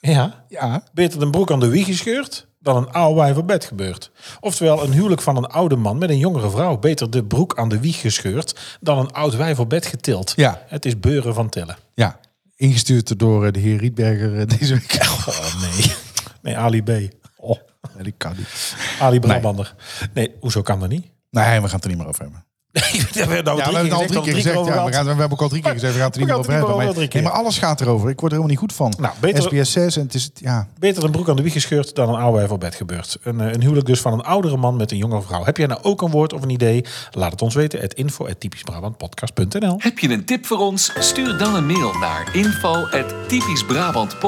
S2: ja.
S1: ja.
S2: Beter een broek aan de wieg gescheurd dan een oude wijf op bed gebeurt. Oftewel, een huwelijk van een oude man met een jongere vrouw. Beter de broek aan de wieg gescheurd dan een oud wijf op bed getild.
S1: Ja.
S2: Het is beuren van tellen.
S1: ja. Ingestuurd door eh, de heer Rietberger eh, deze [laughs] week.
S2: Oh nee. [laughs] Nee, Ali B.
S1: Oh, nee, die kan niet.
S2: Ali Brabander. Nee, hoezo kan dat niet?
S1: [laughs] Nee, we gaan het er niet meer over hebben.
S2: Nee, we hebben nou
S1: Ja, we hebben het al drie keer gezegd. Ja, we, gaan, we hebben ook al drie keer gezegd. We gaan het er niet
S2: We
S1: meer
S2: gaan
S1: over hebben. Maar,
S2: het er niet meer over drie keer.
S1: nee, maar alles gaat erover. Ik word er helemaal niet goed van.
S2: Nou, beter-
S1: SBS 6 en het is... Ja,
S2: Beter een broek aan de wieg gescheurd dan een oude wijf op bed gebeurd. Een, eh, een huwelijk dus van een oudere man met een jongere vrouw. Heb jij nou ook een woord of een idee? Laat het ons weten. Het info at typischbrabantpodcast.nl
S3: Heb je een tip voor ons? Stuur dan een mail naar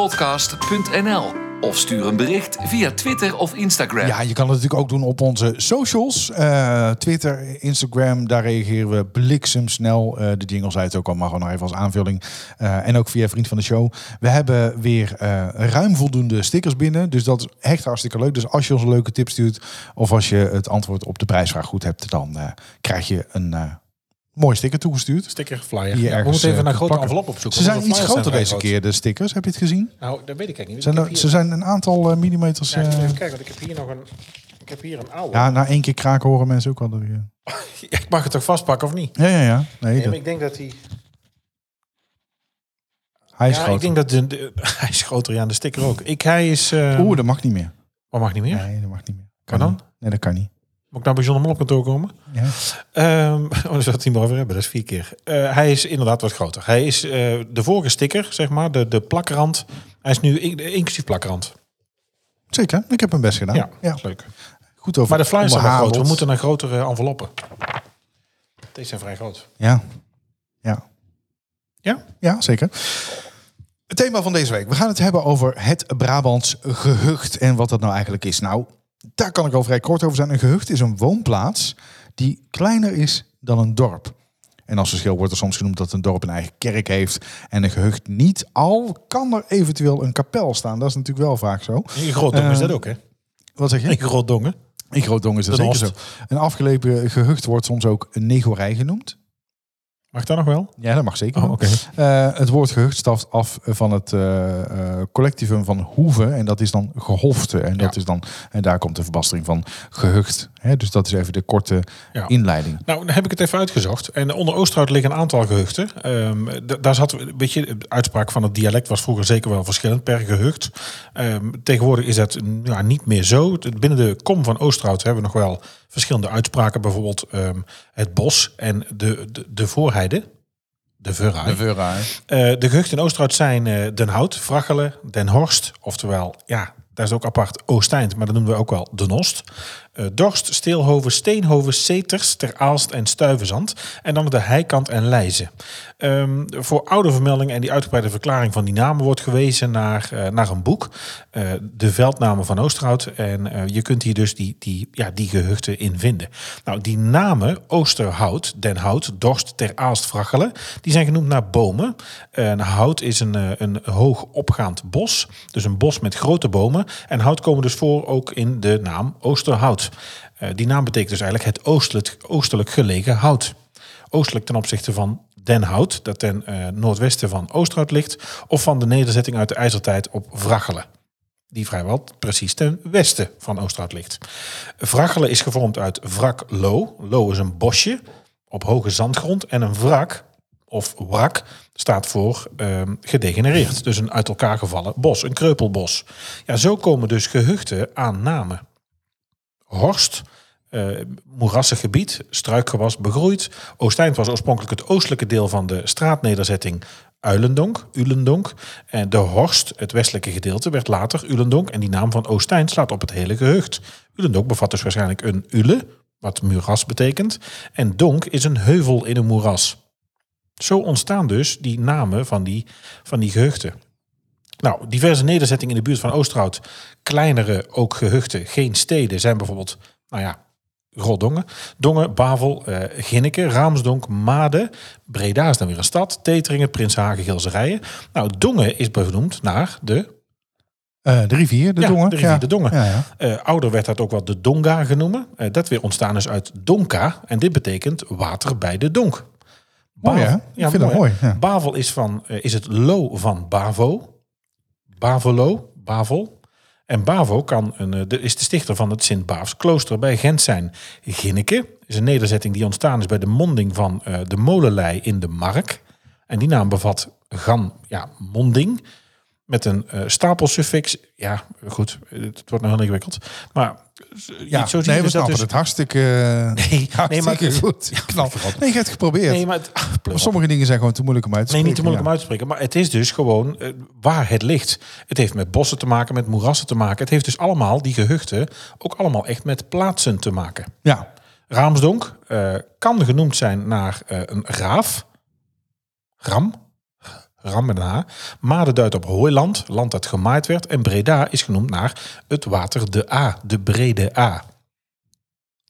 S3: info@typischbrabantpodcast.nl of stuur een bericht via Twitter of Instagram.
S1: ja, je kan het natuurlijk ook doen op onze socials. Eh, Twitter, Instagram. Daar reageren we bliksemsnel. Eh, de jingle zei het ook al, maar gewoon nog even als aanvulling. Eh, en ook via Vriend van de Show. We hebben weer eh, ruim voldoende stickers binnen. Dus dat is echt hartstikke leuk. Dus als je ons een leuke tip stuurt... of als je het antwoord op de prijsvraag goed hebt... dan eh, krijg je een... eh mooie sticker toegestuurd.
S2: Sticker, flyer.
S1: Hier
S2: Ja, we
S1: ergens,
S2: moeten
S1: eh,
S2: even naar grote
S1: plakken.
S2: envelop opzoeken.
S1: Ze zijn
S2: want de
S1: iets
S2: flyers
S1: groter
S2: zijn
S1: deze
S2: vrij
S1: keer, de stickers. Heb je het gezien?
S2: groot. Nou, dat weet ik eigenlijk niet.
S1: Zijn
S2: ik
S1: er- ze zijn een aantal eh, millimeters.
S2: heb hier,
S1: eh,
S2: even kijken, want ik heb hier nog een... Ik heb hier een oude.
S1: ja, na één keer kraken horen mensen ook wel er weer.
S2: [laughs] Ik mag het toch vastpakken of niet?
S1: Ja, ja, ja. Nee,
S2: Nee, maar
S1: dat,
S2: ik denk dat die...
S1: hij is
S2: Ja, ik
S1: groot.
S2: denk dat... De, de- [laughs] hij is groter, ja, de sticker ook. Ik, hij is... eh
S1: Oeh, dat mag niet meer.
S2: Wat mag niet meer?
S1: Nee, dat mag niet meer.
S2: Kan dan?
S1: niet. Nee, dat ehm, kan niet.
S2: Moet ik nou bij John de Mol op kantoor komen?
S1: Ja.
S2: Ehm [laughs] oh, daar zou het niet meer over hebben, dat is vier keer. Eh, hij is inderdaad wat groter. Hij is eh, de vorige sticker, zeg maar, de, de plakrand. Hij is nu in- inclusief plakrand.
S1: Zeker, ik heb mijn best gedaan.
S2: Ja,
S1: Ja,
S2: ja. leuk.
S1: Goed over.
S2: Maar de flyers zijn wel
S1: onderhandeld.
S2: groot. We moeten naar grotere enveloppen. Deze zijn vrij groot.
S1: Ja. Ja.
S2: Ja?
S1: Ja, zeker. Het thema van deze week. We gaan het hebben over het Brabants gehucht en wat dat nou eigenlijk is. Nou, daar kan ik al vrij kort over zijn. Een gehucht is een woonplaats die kleiner is dan een dorp. En als verschil wordt er soms genoemd dat een dorp een eigen kerk heeft en een gehucht niet. Al kan er eventueel een kapel staan. Dat is natuurlijk wel vaak zo.
S2: In Grootdongen is dat ook, hè?
S1: Wat zeg je?
S2: In Eh, Grootdongen.
S1: In Grootdongen is dat
S2: De
S1: zeker zo.
S2: Horst.
S1: Een afgelepen gehucht wordt soms ook een negorij genoemd.
S2: Mag dat nog wel?
S1: Ja, dat mag zeker.
S2: Oh,
S1: wel.
S2: oké.
S1: Eh, het woord gehucht staft af van het eh, eh, collectivum van hoeven. En dat is dan gehofte. En, dat
S2: Ja.
S1: is dan, en daar komt de verbastering van gehucht. Hè, dus dat is even de korte
S2: Ja.
S1: inleiding.
S2: Nou, dan heb ik het even uitgezocht. En onder Oosterhout liggen een aantal gehuchten. Ehm, d- daar zat, weet je, de uitspraak van het dialect was vroeger zeker wel verschillend per gehucht. Ehm, tegenwoordig is dat mm, ja, niet meer zo. Het- Binnen de kom van Oosterhout hebben we nog wel verschillende uitspraken. Bijvoorbeeld ehm, het bos en de, de, de voorheide. De verhaai.
S1: Veura,
S2: Eh, de gehuchten in Oosterhout zijn eh, Den Hout, Vrachelen, Den Horst. Oftewel, ja, daar is ook apart Oosteind, maar dat noemen we ook wel Den Oost. Eh, Dorst, Steelhoven, Steenhoven, Seters, Ter Aalst en Stuivenzand. En dan de Heikant en Leijzen. Ehm, voor oude vermeldingen en die uitgebreide verklaring van die namen wordt gewezen naar, eh, naar een boek. eh, de veldnamen van Oosterhout. En eh, je kunt hier dus die, die, ja, die gehuchten in vinden. Nou, die namen Oosterhout, Den Hout, Dorst, Ter Aalst, Vrachelen... die zijn genoemd naar bomen. En hout is een, eh, een hoog opgaand bos. Dus een bos met grote bomen. En hout komen dus voor ook in de naam Oosterhout. Eh, die naam betekent dus eigenlijk het oostelijk, oostelijk gelegen hout. Oostelijk ten opzichte van Den Hout, dat ten eh, noordwesten van Oosterhout ligt. Of van de nederzetting uit de ijzertijd op Vrachelen die vrijwel precies ten westen van Oosterhout ligt. Vrachelen is gevormd uit wrak lo. Lo is een bosje op hoge zandgrond en een wrak of wrak staat voor ehm, gedegenereerd. Dus een uit elkaar gevallen bos, een kreupelbos. Ja, zo komen dus gehuchten aan namen. Horst, eh, moerassig gebied, struikgewas begroeid. Oosteind was oorspronkelijk het oostelijke deel van de straatnederzetting Uilendonk, Ulendonk. En de Horst, het westelijke gedeelte, werd later Ulendonk. En die naam van Oosteind slaat op het hele gehucht. Ulendonk bevat dus waarschijnlijk een ule, wat moeras betekent. En donk is een heuvel in een moeras. Zo ontstaan dus die namen van die, van die gehuchten. Nou, diverse nederzettingen in de buurt van Oosterhout, kleinere ook gehuchten, geen steden, zijn bijvoorbeeld, nou ja, Roldongen, Dongen, Bavel, eh Ginneken, Raamsdonk, Maden, Breda is dan weer een stad, Teteringen, Prinshagen, Gilserijen. Nou, Dongen is benoemd naar de
S1: Eh, de rivier, de
S2: ja,
S1: Dongen.
S2: De rivier,
S1: ja.
S2: de Dongen.
S1: Ja, ja.
S2: Eh, ouder werd dat ook wel de Donga genoemd. Eh, dat weer ontstaan is uit Donka. En dit betekent water bij de donk.
S1: Mooi, hè?
S2: Bavel-
S1: Ik vind dat
S2: hè?
S1: mooi, ja.
S2: Bavel is, van, eh, is het lo van Bavo. Bavelo, Bavel. En Bavo kan een, eh, de, is de stichter van het Sint-Baafs klooster bij Gent zijn. Ginneke is een nederzetting die ontstaan is bij de monding van eh, de molenlei in de Mark. En die naam bevat gan, ja, monding met een eh, stapelsuffix. Ja, goed, het wordt nog heel ingewikkeld. Maar
S1: Ja,
S2: ja, zo zie
S1: nee, we
S2: je dus dat
S1: snappen
S2: dus...
S1: het hartstikke, nee,
S2: [laughs] nee, maar-
S1: goed. Knap. Nee, je hebt het geprobeerd.
S2: Nee, maar het, ah, pleur
S1: Maar
S2: op.
S1: sommige dingen zijn gewoon te moeilijk om uit te
S2: nee, niet te
S1: spreken,
S2: moeilijk om uit te spreken. Maar het is dus gewoon eh, waar het ligt. Het heeft met bossen te maken, met moerassen te maken. Het heeft dus allemaal, die gehuchten, ook allemaal echt met plaatsen te maken.
S1: ja. Ja.
S2: Raamsdonk eh, kan genoemd zijn naar eh, een raaf. Ram. Ram met een H. Maden duidt op hooiland, land dat gemaaid werd. En Breda is genoemd naar het water de A, de brede A.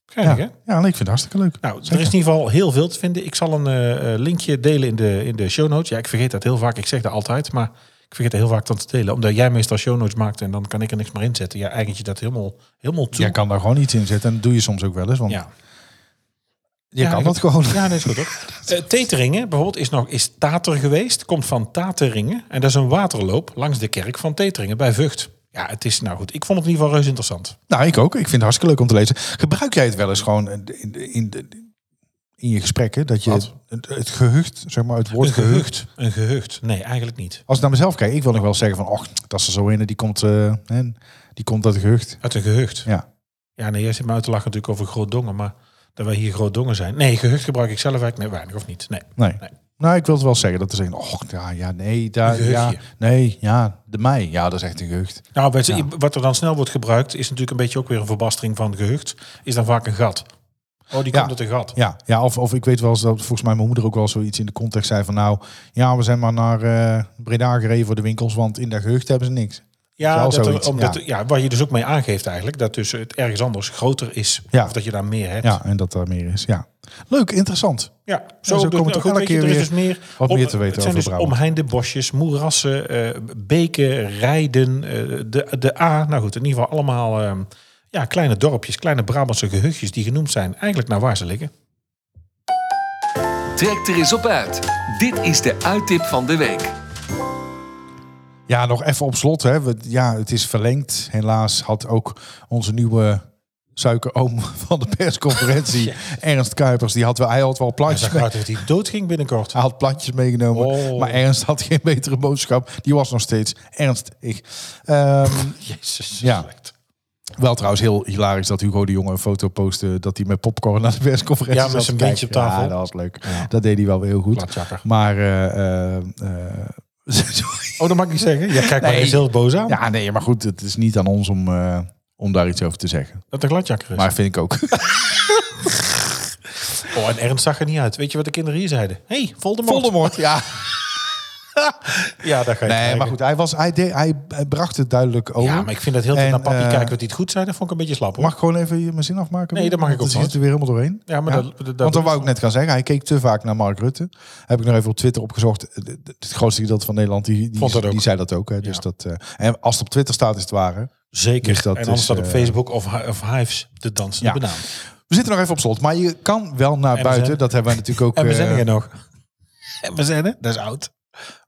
S2: Geinig, hè?
S1: Ja, ja nee, ik vind het hartstikke leuk.
S2: Nou,
S1: Zeker.
S2: er is in ieder geval heel veel te vinden. Ik zal een eh, eh, linkje delen in de, in de show notes. Ja, ik vergeet dat heel vaak. Ik zeg dat altijd, maar ik vergeet dat heel vaak dan te delen. Omdat jij meestal show notes maakt en dan kan ik er niks meer in zetten. Ja, eigent je dat helemaal, helemaal toe.
S1: Jij kan daar gewoon iets in zetten en dat doe je soms ook wel eens, want
S2: ja.
S1: je
S2: Ja,
S1: kan
S2: ik-
S1: dat gewoon.
S2: Ja, dat is goed hoor. Eh, Teteringen bijvoorbeeld is nog is Tater geweest. Komt van Tateringen. En dat is een waterloop langs de kerk van Teteringen bij Vught. Ja, het is nou goed. Ik vond het in ieder geval reuze
S1: [laughs]
S2: interessant.
S1: Nou, ik ook. Ik vind het hartstikke leuk om te lezen. Gebruik jij het wel eens gewoon in, in, in, in je gesprekken? Dat je het,
S2: Wat?
S1: het gehucht, zeg maar, het
S2: [laughs]
S1: woord gehucht.
S2: Een gehucht. Nee, eigenlijk niet.
S1: Als ik naar mezelf kijk, ik wil nog wel zeggen van, och, dat is er zo in, die komt, eh, hè, die komt uit het gehucht.
S2: Uit een gehucht.
S1: Ja.
S2: Ja, nee, jij zit me uit te lachen natuurlijk over Grootdongen, maar dat wij hier Grootdongen zijn. Nee, gehucht gebruik ik zelf eigenlijk nee, weinig of niet. Nee.
S1: Nee.
S2: Nee.
S1: Nou, ik wil het wel zeggen dat er zeggen, och, ja, ja, nee, daar,
S2: Een
S1: ja,
S2: gehuchtje.
S1: nee, ja, de mei, ja, dat is echt een gehucht.
S2: Nou, wat, wat er dan snel wordt gebruikt, is natuurlijk een beetje ook weer een verbastering van gehucht. Is dan vaak een gat. Oh, die
S1: Ja.
S2: komt uit een gat.
S1: Ja, ja of, of ik weet wel eens dat volgens mij mijn moeder ook wel zoiets in de context zei van, nou, ja, we zijn maar naar eh, Breda gereden voor de winkels, want in dat gehucht hebben ze niks.
S2: Ja,
S1: Wel
S2: dat er-
S1: zoiets,
S2: omdat,
S1: ja.
S2: ja. waar je dus ook mee aangeeft eigenlijk, dat dus het ergens anders groter is.
S1: Ja.
S2: Of dat je daar meer hebt.
S1: Ja, en dat daar meer is, ja. Leuk, interessant.
S2: Ja,
S1: zo
S2: ook
S1: komt
S2: dus-
S1: het
S2: ook
S1: elke
S2: weet je,
S1: keer
S2: er is
S1: weer
S2: dus meer
S1: wat meer te weten
S2: Het
S1: over
S2: zijn dus
S1: Brabant.
S2: omheinde bosjes, moerassen, eh, beken, rijden, eh, de, de A. Nou goed, in ieder geval allemaal eh, ja, kleine dorpjes, kleine Brabantse gehuchtjes die genoemd zijn. Eigenlijk naar waar ze liggen.
S3: Trek er eens op uit. Dit is de uittip van de week.
S1: Ja, nog even op slot. Hè. We- ja, het is verlengd. Helaas had ook onze nieuwe suikeroom [laughs] van de
S2: [laughs]
S1: persconferentie, Ernst Kuipers, die had wel, hij had wel
S2: Zag
S1: plaatjes, mee- [laughs]
S2: uit dat die doodging binnenkort.
S1: hij had plaatjes meegenomen.
S2: Oh.
S1: Maar Ernst had geen betere boodschap. Die was nog steeds ernstig. Ehm
S2: Jezus.
S1: Ja.
S2: slecht.
S1: wel trouwens heel hilarisch dat Hugo de Jonge een foto postte dat hij met popcorn naar de persconferentie
S2: Ja, met
S1: zat te
S2: zijn beentje
S1: kijken.
S2: op tafel.
S1: Ja, dat was leuk. Dat deed hij wel weer heel goed.
S2: Platjakker.
S1: Maar eh, eh, eh, [laughs] sorry.
S2: Oh, dat mag ik niet zeggen. Ja, kijk, maar
S1: Nee.
S2: hij is heel boos aan.
S1: ja, nee, maar goed, het is niet aan ons om, eh, om daar iets over te zeggen.
S2: Dat een gladjakker is.
S1: Maar vind ik ook.
S2: [laughs] Oh, en Ernst zag er niet uit. Weet je wat de kinderen hier zeiden? Hé, hey, Voldemort.
S1: ja.
S2: Ja, daar ga je
S1: Nee,
S2: kijken.
S1: maar goed, hij, was, hij, deed, hij, hij bracht het duidelijk over.
S2: Ja, maar ik vind dat heel veel
S1: En,
S2: naar papi
S1: eh,
S2: kijken wat hij het goed zei. Dat vond ik een beetje slap hoor.
S1: Mag ik gewoon even je- mijn zin afmaken?
S2: Nee, dat mag ik
S1: Want
S2: ook
S1: Dan zit het
S2: nooit.
S1: er weer helemaal doorheen.
S2: Ja, maar dat- dat- dat-
S1: Want dat wou ik net gaan zeggen. Hij keek te vaak naar Mark Rutte. Heb ik nog even op Twitter opgezocht. Eh, Het grootste gedeelte van Nederland, die, die,
S2: Vond dat ook.
S1: die zei dat ook. Hè. Dus
S2: Ja.
S1: dat, eh, en als het op Twitter staat, is het waar. hè?
S2: Zeker.
S1: Dus dat
S2: en anders
S1: is,
S2: staat op
S1: eh,
S2: Facebook of, Hi- of Hives de dansende
S1: Ja.
S2: banaan.
S1: We zitten nog even op slot. Maar je kan wel naar
S2: we
S1: buiten.
S2: zijn-
S1: Dat hebben wij natuurlijk ook...
S2: [laughs] En we
S1: eh,
S2: zijn er nog.
S1: [laughs]
S2: En we zijn er. Dat is oud.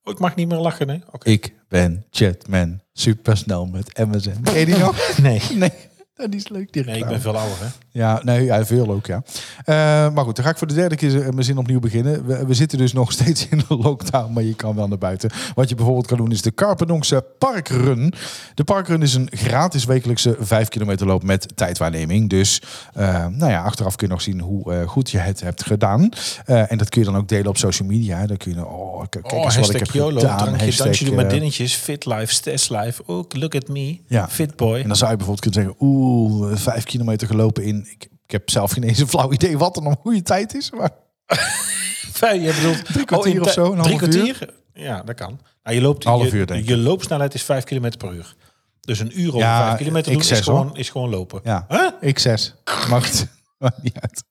S2: Oh, ik mag niet meer lachen, hè? Oké.
S1: ik ben Chatman. Supersnel met MSN. Ken je die nog? [laughs]
S2: Nee.
S1: Nee, Nou. dat is leuk. Die
S2: Nee, ik
S1: reclame.
S2: ben veel ouder, hè?
S1: Ja, nee, ja, veel ook, ja. Eh, maar goed, dan ga ik voor de derde keer eh, mijn zin opnieuw beginnen. We, we zitten dus nog [laughs] steeds in de lockdown, maar je kan wel naar buiten. Wat je bijvoorbeeld kan doen is de Carpendonkse Parkrun. De Parkrun is een gratis wekelijkse 5 kilometer loop met tijdwaarneming. Dus eh, nou ja, achteraf kun je nog zien hoe eh, goed je het hebt gedaan. Eh, en dat kun je dan ook delen op social media. hè. Dan kun je, oh, k- kijk eens
S2: oh,
S1: wat ik
S2: hashtag
S1: heb
S2: YOLO.
S1: gedaan.
S2: Drankje,
S1: Hashtag,
S2: dansje, doe maar
S1: eh,
S2: dingetjes. Fit life, stes life. Ook look at me.
S1: Ja.
S2: Fit boy.
S1: En dan zou je bijvoorbeeld kunnen zeggen, oeh, eh, vijf kilometer gelopen in. Ik, ik heb zelf geen eens een flauw idee wat dan een goede tijd is. Maar
S2: Vijf, je
S1: [laughs]
S2: bedoelt drie
S1: kwartier of zo, een half
S2: drie
S1: uur?
S2: kwartier? Ja, dat kan. Nou, je, loopt,
S1: Half
S2: je,
S1: uur, denk ik.
S2: je loopsnelheid is vijf kilometer per uur. Dus een uur over
S1: Ja,
S2: vijf kilometer
S1: ik
S2: doen is,
S1: zes,
S2: gewoon, is gewoon lopen.
S1: Ja,
S2: Huh?
S1: X6. Maar goed, maakt [laughs] niet uit.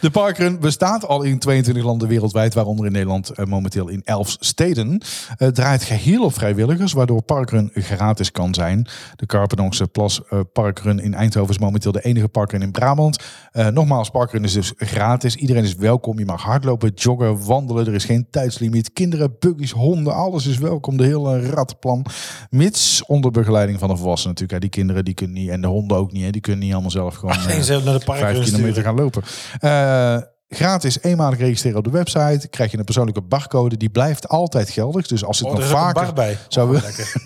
S1: De parkrun bestaat al in 22 landen wereldwijd, waaronder in Nederland eh, momenteel in 11 steden. Eh, draait geheel op vrijwilligers, waardoor parkrun gratis kan zijn. De Carpenongse Plas eh, Parkrun in Eindhoven is momenteel de enige parkrun in Brabant. Eh, nogmaals, parkrun is dus gratis. Iedereen is welkom. Je mag hardlopen, joggen, wandelen. Er is geen tijdslimiet. Kinderen, buggies, honden, alles is welkom. De hele rattenplan. Mits onder begeleiding van een volwassene natuurlijk. Hè. Die kinderen die kunnen niet, en de honden ook niet. Hè. Die kunnen niet allemaal zelf gewoon... eh,
S2: En ze hebben naar de
S1: vijf
S2: parkrun
S1: kilometer
S2: sturen.
S1: gaan lopen. Eh, gratis eenmalig registreren op de website. Krijg je een persoonlijke barcode. Die blijft altijd geldig. Dus als het
S2: Oh, er
S1: nog
S2: is ook een
S1: vaker
S2: bar bij.
S1: zou
S2: Oh,
S1: willen-
S2: lekker.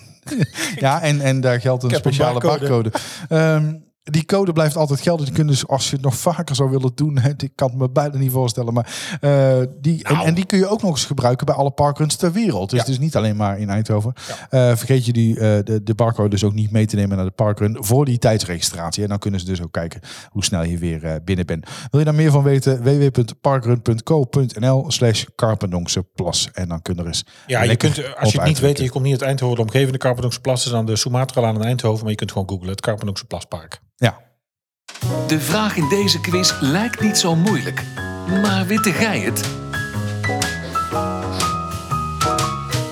S1: ja, en, en daar geldt een
S2: Ik heb een
S1: speciale barcode.
S2: barcode.
S1: Ehm, die code blijft altijd gelden. Die kunnen dus als je het nog vaker zou willen doen, hè, ik kan het me bijna niet voorstellen. Maar eh, die, en, en die kun je ook nog eens gebruiken bij alle parkruns ter wereld. Dus
S2: Nou. Ja.
S1: het is niet alleen maar in Eindhoven. Eh, vergeet je die, eh, de, de barcode dus ook niet mee te nemen naar de parkrun voor die tijdsregistratie. En dan kunnen ze dus ook kijken hoe snel je weer eh, binnen bent. Wil je daar meer van weten? www.parkrun.co.nl slash Plas. En dan kunnen er eens [laughs]
S2: Ja, je
S1: lekker
S2: kunt, eh, als je
S1: op
S2: het niet weet, en
S1: uitkijken.
S2: je komt niet uit Eindhoven, de omgevende Carpendonkseplas Plas is aan de Sumatralaan in Eindhoven, maar je kunt gewoon googlen, het Carpendonkseplaspark. Plaspark.
S1: Ja,
S3: De vraag in deze quiz lijkt niet zo moeilijk. Maar witte gij het?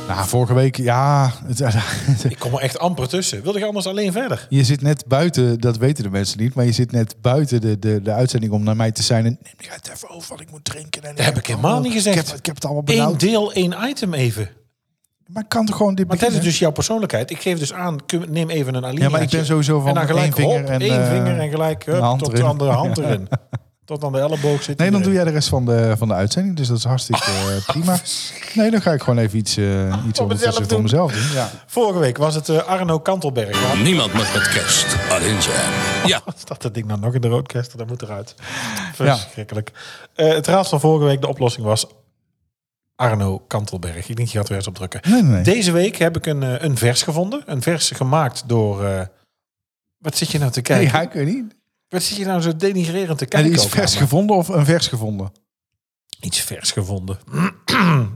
S1: Nou, vorige week, ja. het- [laughs]
S2: Ik kom er echt amper tussen. Wilde je anders alleen verder?
S1: Je zit net buiten, dat weten de mensen niet, maar je zit net buiten de, de, de uitzending om naar mij te zijn. En neem het even over, want ik moet drinken. En
S2: Dat heb ik helemaal niet gezegd.
S1: Ik heb, ik heb het allemaal
S2: Eén
S1: benauwd.
S2: deel, één item even.
S1: Maar ik kan toch gewoon dit
S2: Maar dat is
S1: beginnen?
S2: dus jouw persoonlijkheid. Ik geef dus aan, kun- neem even een alinea.
S1: Ja, maar ik ben sowieso van
S2: en dan gelijk
S1: één vinger
S2: hop,
S1: en,
S2: één
S1: eh,
S2: vinger en gelijk hup,
S1: een hand
S2: tot
S1: erin.
S2: de andere
S1: [laughs]
S2: hand erin. Tot aan de elleboog zit.
S1: Nee, dan doe
S2: iedereen.
S1: jij de rest van de, van de uitzending, dus dat is hartstikke
S2: [laughs]
S1: eh, prima. Nee, dan ga ik gewoon even iets, eh iets
S2: Voor mezelf
S1: ondertussen voor
S2: doen.
S1: mezelf doen. Ja.
S2: Vorige week was het eh, Arno Kantelberg. Waar
S4: Niemand mag met kerst alleen zijn. Ja,
S2: staat dat ding nou nog in de roodkester? Dat moet eruit. Verschrikkelijk. Eh, het raadsel van vorige week, de oplossing was Arno Kantelberg. Ik denk, je gaat weer eens op drukken.
S1: Nee, nee, nee.
S2: Deze week heb ik een, eh, een vers gevonden. Een vers gemaakt door... eh, wat zit je nou te
S1: Nee,
S2: kijken?
S1: ja, ik weet niet.
S2: Wat zit je nou zo denigrerend te
S1: En
S2: kijken?
S1: die is
S2: ook
S1: vers
S2: aan me?
S1: gevonden of een vers gevonden?
S2: iets vers gevonden. [clears throat]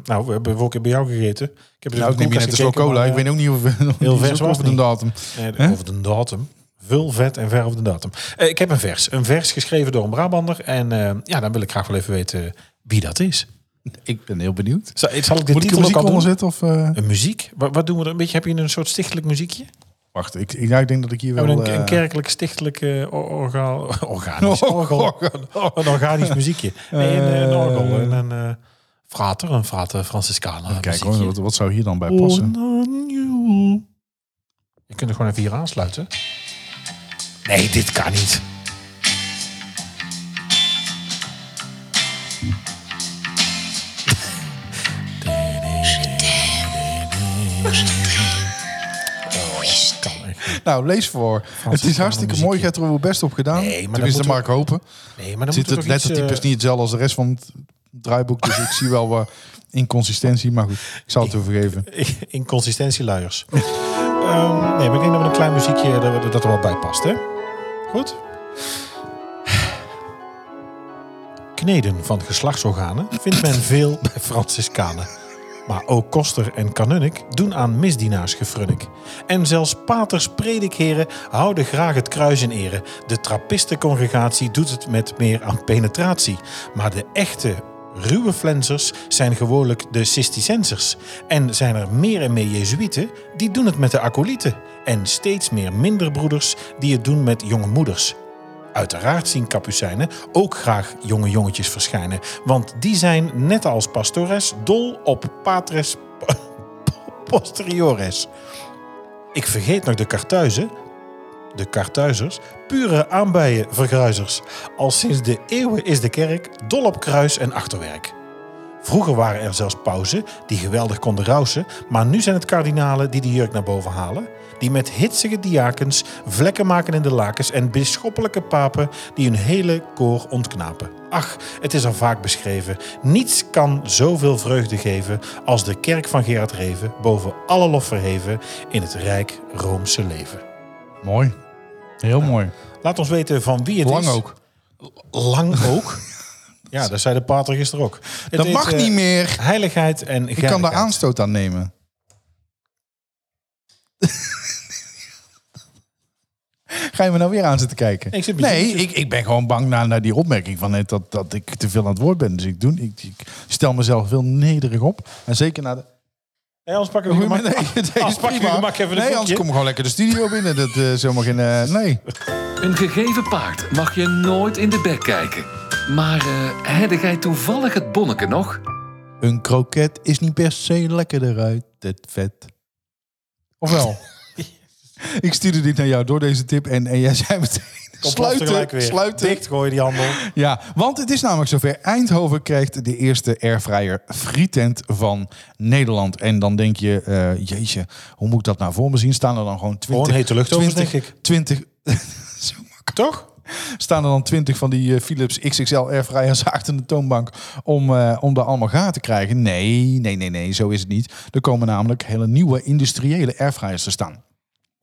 S2: nou, we hebben vorige keer bij jou gegeten. Ik heb dus
S1: Nou, ik neem je
S2: in de koelkast
S1: net als
S2: gekeken,
S1: cola.
S2: maar,
S1: Ik
S2: eh,
S1: weet ook niet of heel
S2: vers was
S1: over de
S2: het
S1: datum.
S2: Nee, de- Eh, over de datum. Vul vet en ver over de datum. Eh, ik heb een vers. Een vers geschreven door een Brabander. En eh, ja, dan wil ik graag wel even weten wie dat is.
S1: Ik ben heel benieuwd.
S2: Zal, zal ik de
S1: Moet ik de
S2: titel ook
S1: muziek
S2: al doen?
S1: onderzetten? Of, eh?
S2: Een muziek? Wat, wat doen we er een beetje? Heb je een soort stichtelijk muziekje?
S1: Wacht, ik, ik, ja, ik denk dat ik hier wel...
S2: Hebben we een,
S1: eh,
S2: een kerkelijk, stichtelijk, eh, or- orgaal- [laughs] organisch,
S1: Oh,
S2: orgel- een organisch muziekje? Nee, een, [laughs] eh, een orgel, een, een eh, frater, een frater Franciscana
S1: Kijk hoor,
S2: muziekje.
S1: wat, wat zou hier dan bij passen?
S2: Je kunt er gewoon even hier aansluiten. Nee, dit kan niet. Oh, kan echt.
S1: Nou, lees voor. het is hartstikke
S2: muziekje.
S1: mooi. Je hebt er wel best op gedaan.
S2: Nee, maar dan
S1: Tenminste,
S2: moeten
S1: mag ik hopen.
S2: Nee, maar dan
S1: Zit
S2: moet
S1: het
S2: er toch iets...
S1: lettertype is
S2: eh,
S1: niet hetzelfde als de rest van het draaiboek. Dus ik zie wel wat inconsistentie. Maar goed, ik zal het u vergeven.
S2: [laughs] Inconsistentieluiers. [laughs] Ehm, nee, maar ik denk dat we een klein muziekje dat, we- dat er wel bij past, hè? Goed. [sighs] Kneden van geslachtsorganen vindt men veel bij Franciscanen. Maar ook koster en kanunnik doen aan misdienaars gefrunnik. En zelfs paters, predikheren houden graag het kruis in ere. De trappistencongregatie doet het met meer aan penetratie. Maar de echte ruwe flensers zijn gewoonlijk de cysticensers. En zijn er meer en meer jezuïeten, die doen het met de acolyten. En steeds meer minder broeders die het doen met jonge moeders. Uiteraard zien kapucijnen ook graag jonge jongetjes verschijnen. Want die zijn, net als pastores, dol op patres [laughs] posteriores. Ik vergeet nog de kartuizen. De kartuizers, pure aanbijen vergruizers. Al sinds de eeuwen is de kerk dol op kruis en achterwerk. Vroeger waren er zelfs pauzen die geweldig konden rousen, maar nu zijn het kardinalen die de jurk naar boven halen, die met hitsige diakens vlekken maken in de lakens en bisschoppelijke papen die hun hele koor ontknapen. Ach, het is al vaak beschreven, niets kan zoveel vreugde geven als de kerk van Gerard Reven boven alle lof verheven in het rijk Roomse leven.
S1: Mooi. Heel mooi.
S2: Laat ons weten van wie het
S1: Lang
S2: is.
S1: [laughs] ook.
S2: Lang ook. Ja, dat zei de pater gisteren ook. Het
S1: Dat
S2: heet,
S1: mag
S2: eh,
S1: niet meer.
S2: Heiligheid
S1: Ik
S2: en
S1: kan daar
S2: geinigheid.
S1: aanstoot aan nemen. Ga je me nou weer aan zitten kijken?
S2: Ik zit met
S1: nee,
S2: je-
S1: ik, ik ben gewoon bang naar, naar die opmerking van net dat, dat ik te veel aan het woord ben. Dus ik, doe, ik, ik stel mezelf heel nederig op. En zeker naar de...
S2: Nee, anders pakken we
S1: [laughs]
S2: gemak.
S1: nee,
S2: [laughs]
S1: nee,
S2: anders pakken we Oh, gemak even een
S1: Nee, anders
S2: koekje.
S1: kom ik gewoon lekker de studio binnen. Dat eh zomaar geen... eh, nee.
S3: Een gegeven paard mag je nooit in de bek kijken. Maar eh hadde jij toevallig het bonneke nog?
S1: Een kroket is niet per se lekkerder uit het vet. Ofwel? [laughs] ik stuurde dit naar jou door deze tip en, en jij zei meteen...
S2: Kom, plof tegelijk
S1: Sluiten,
S2: weer.
S1: sluiten.
S2: Dicht gooien die [laughs] handel.
S1: Ja, want het is namelijk zover. Eindhoven krijgt de eerste airfryer frietent van Nederland. En dan denk je, eh, jeetje, hoe moet ik dat nou voor me zien? Staan er dan gewoon twintig...
S2: Gewoon hete luchtovens, denk ik.
S1: 20,
S2: Toch?
S1: staan er dan 20 van die eh, Philips XXL [laughs] airfryers achter de toonbank om, eh, om daar allemaal gaten te krijgen? Nee, nee, nee, nee, zo is het niet. Er komen namelijk hele nieuwe industriële airfryers te staan.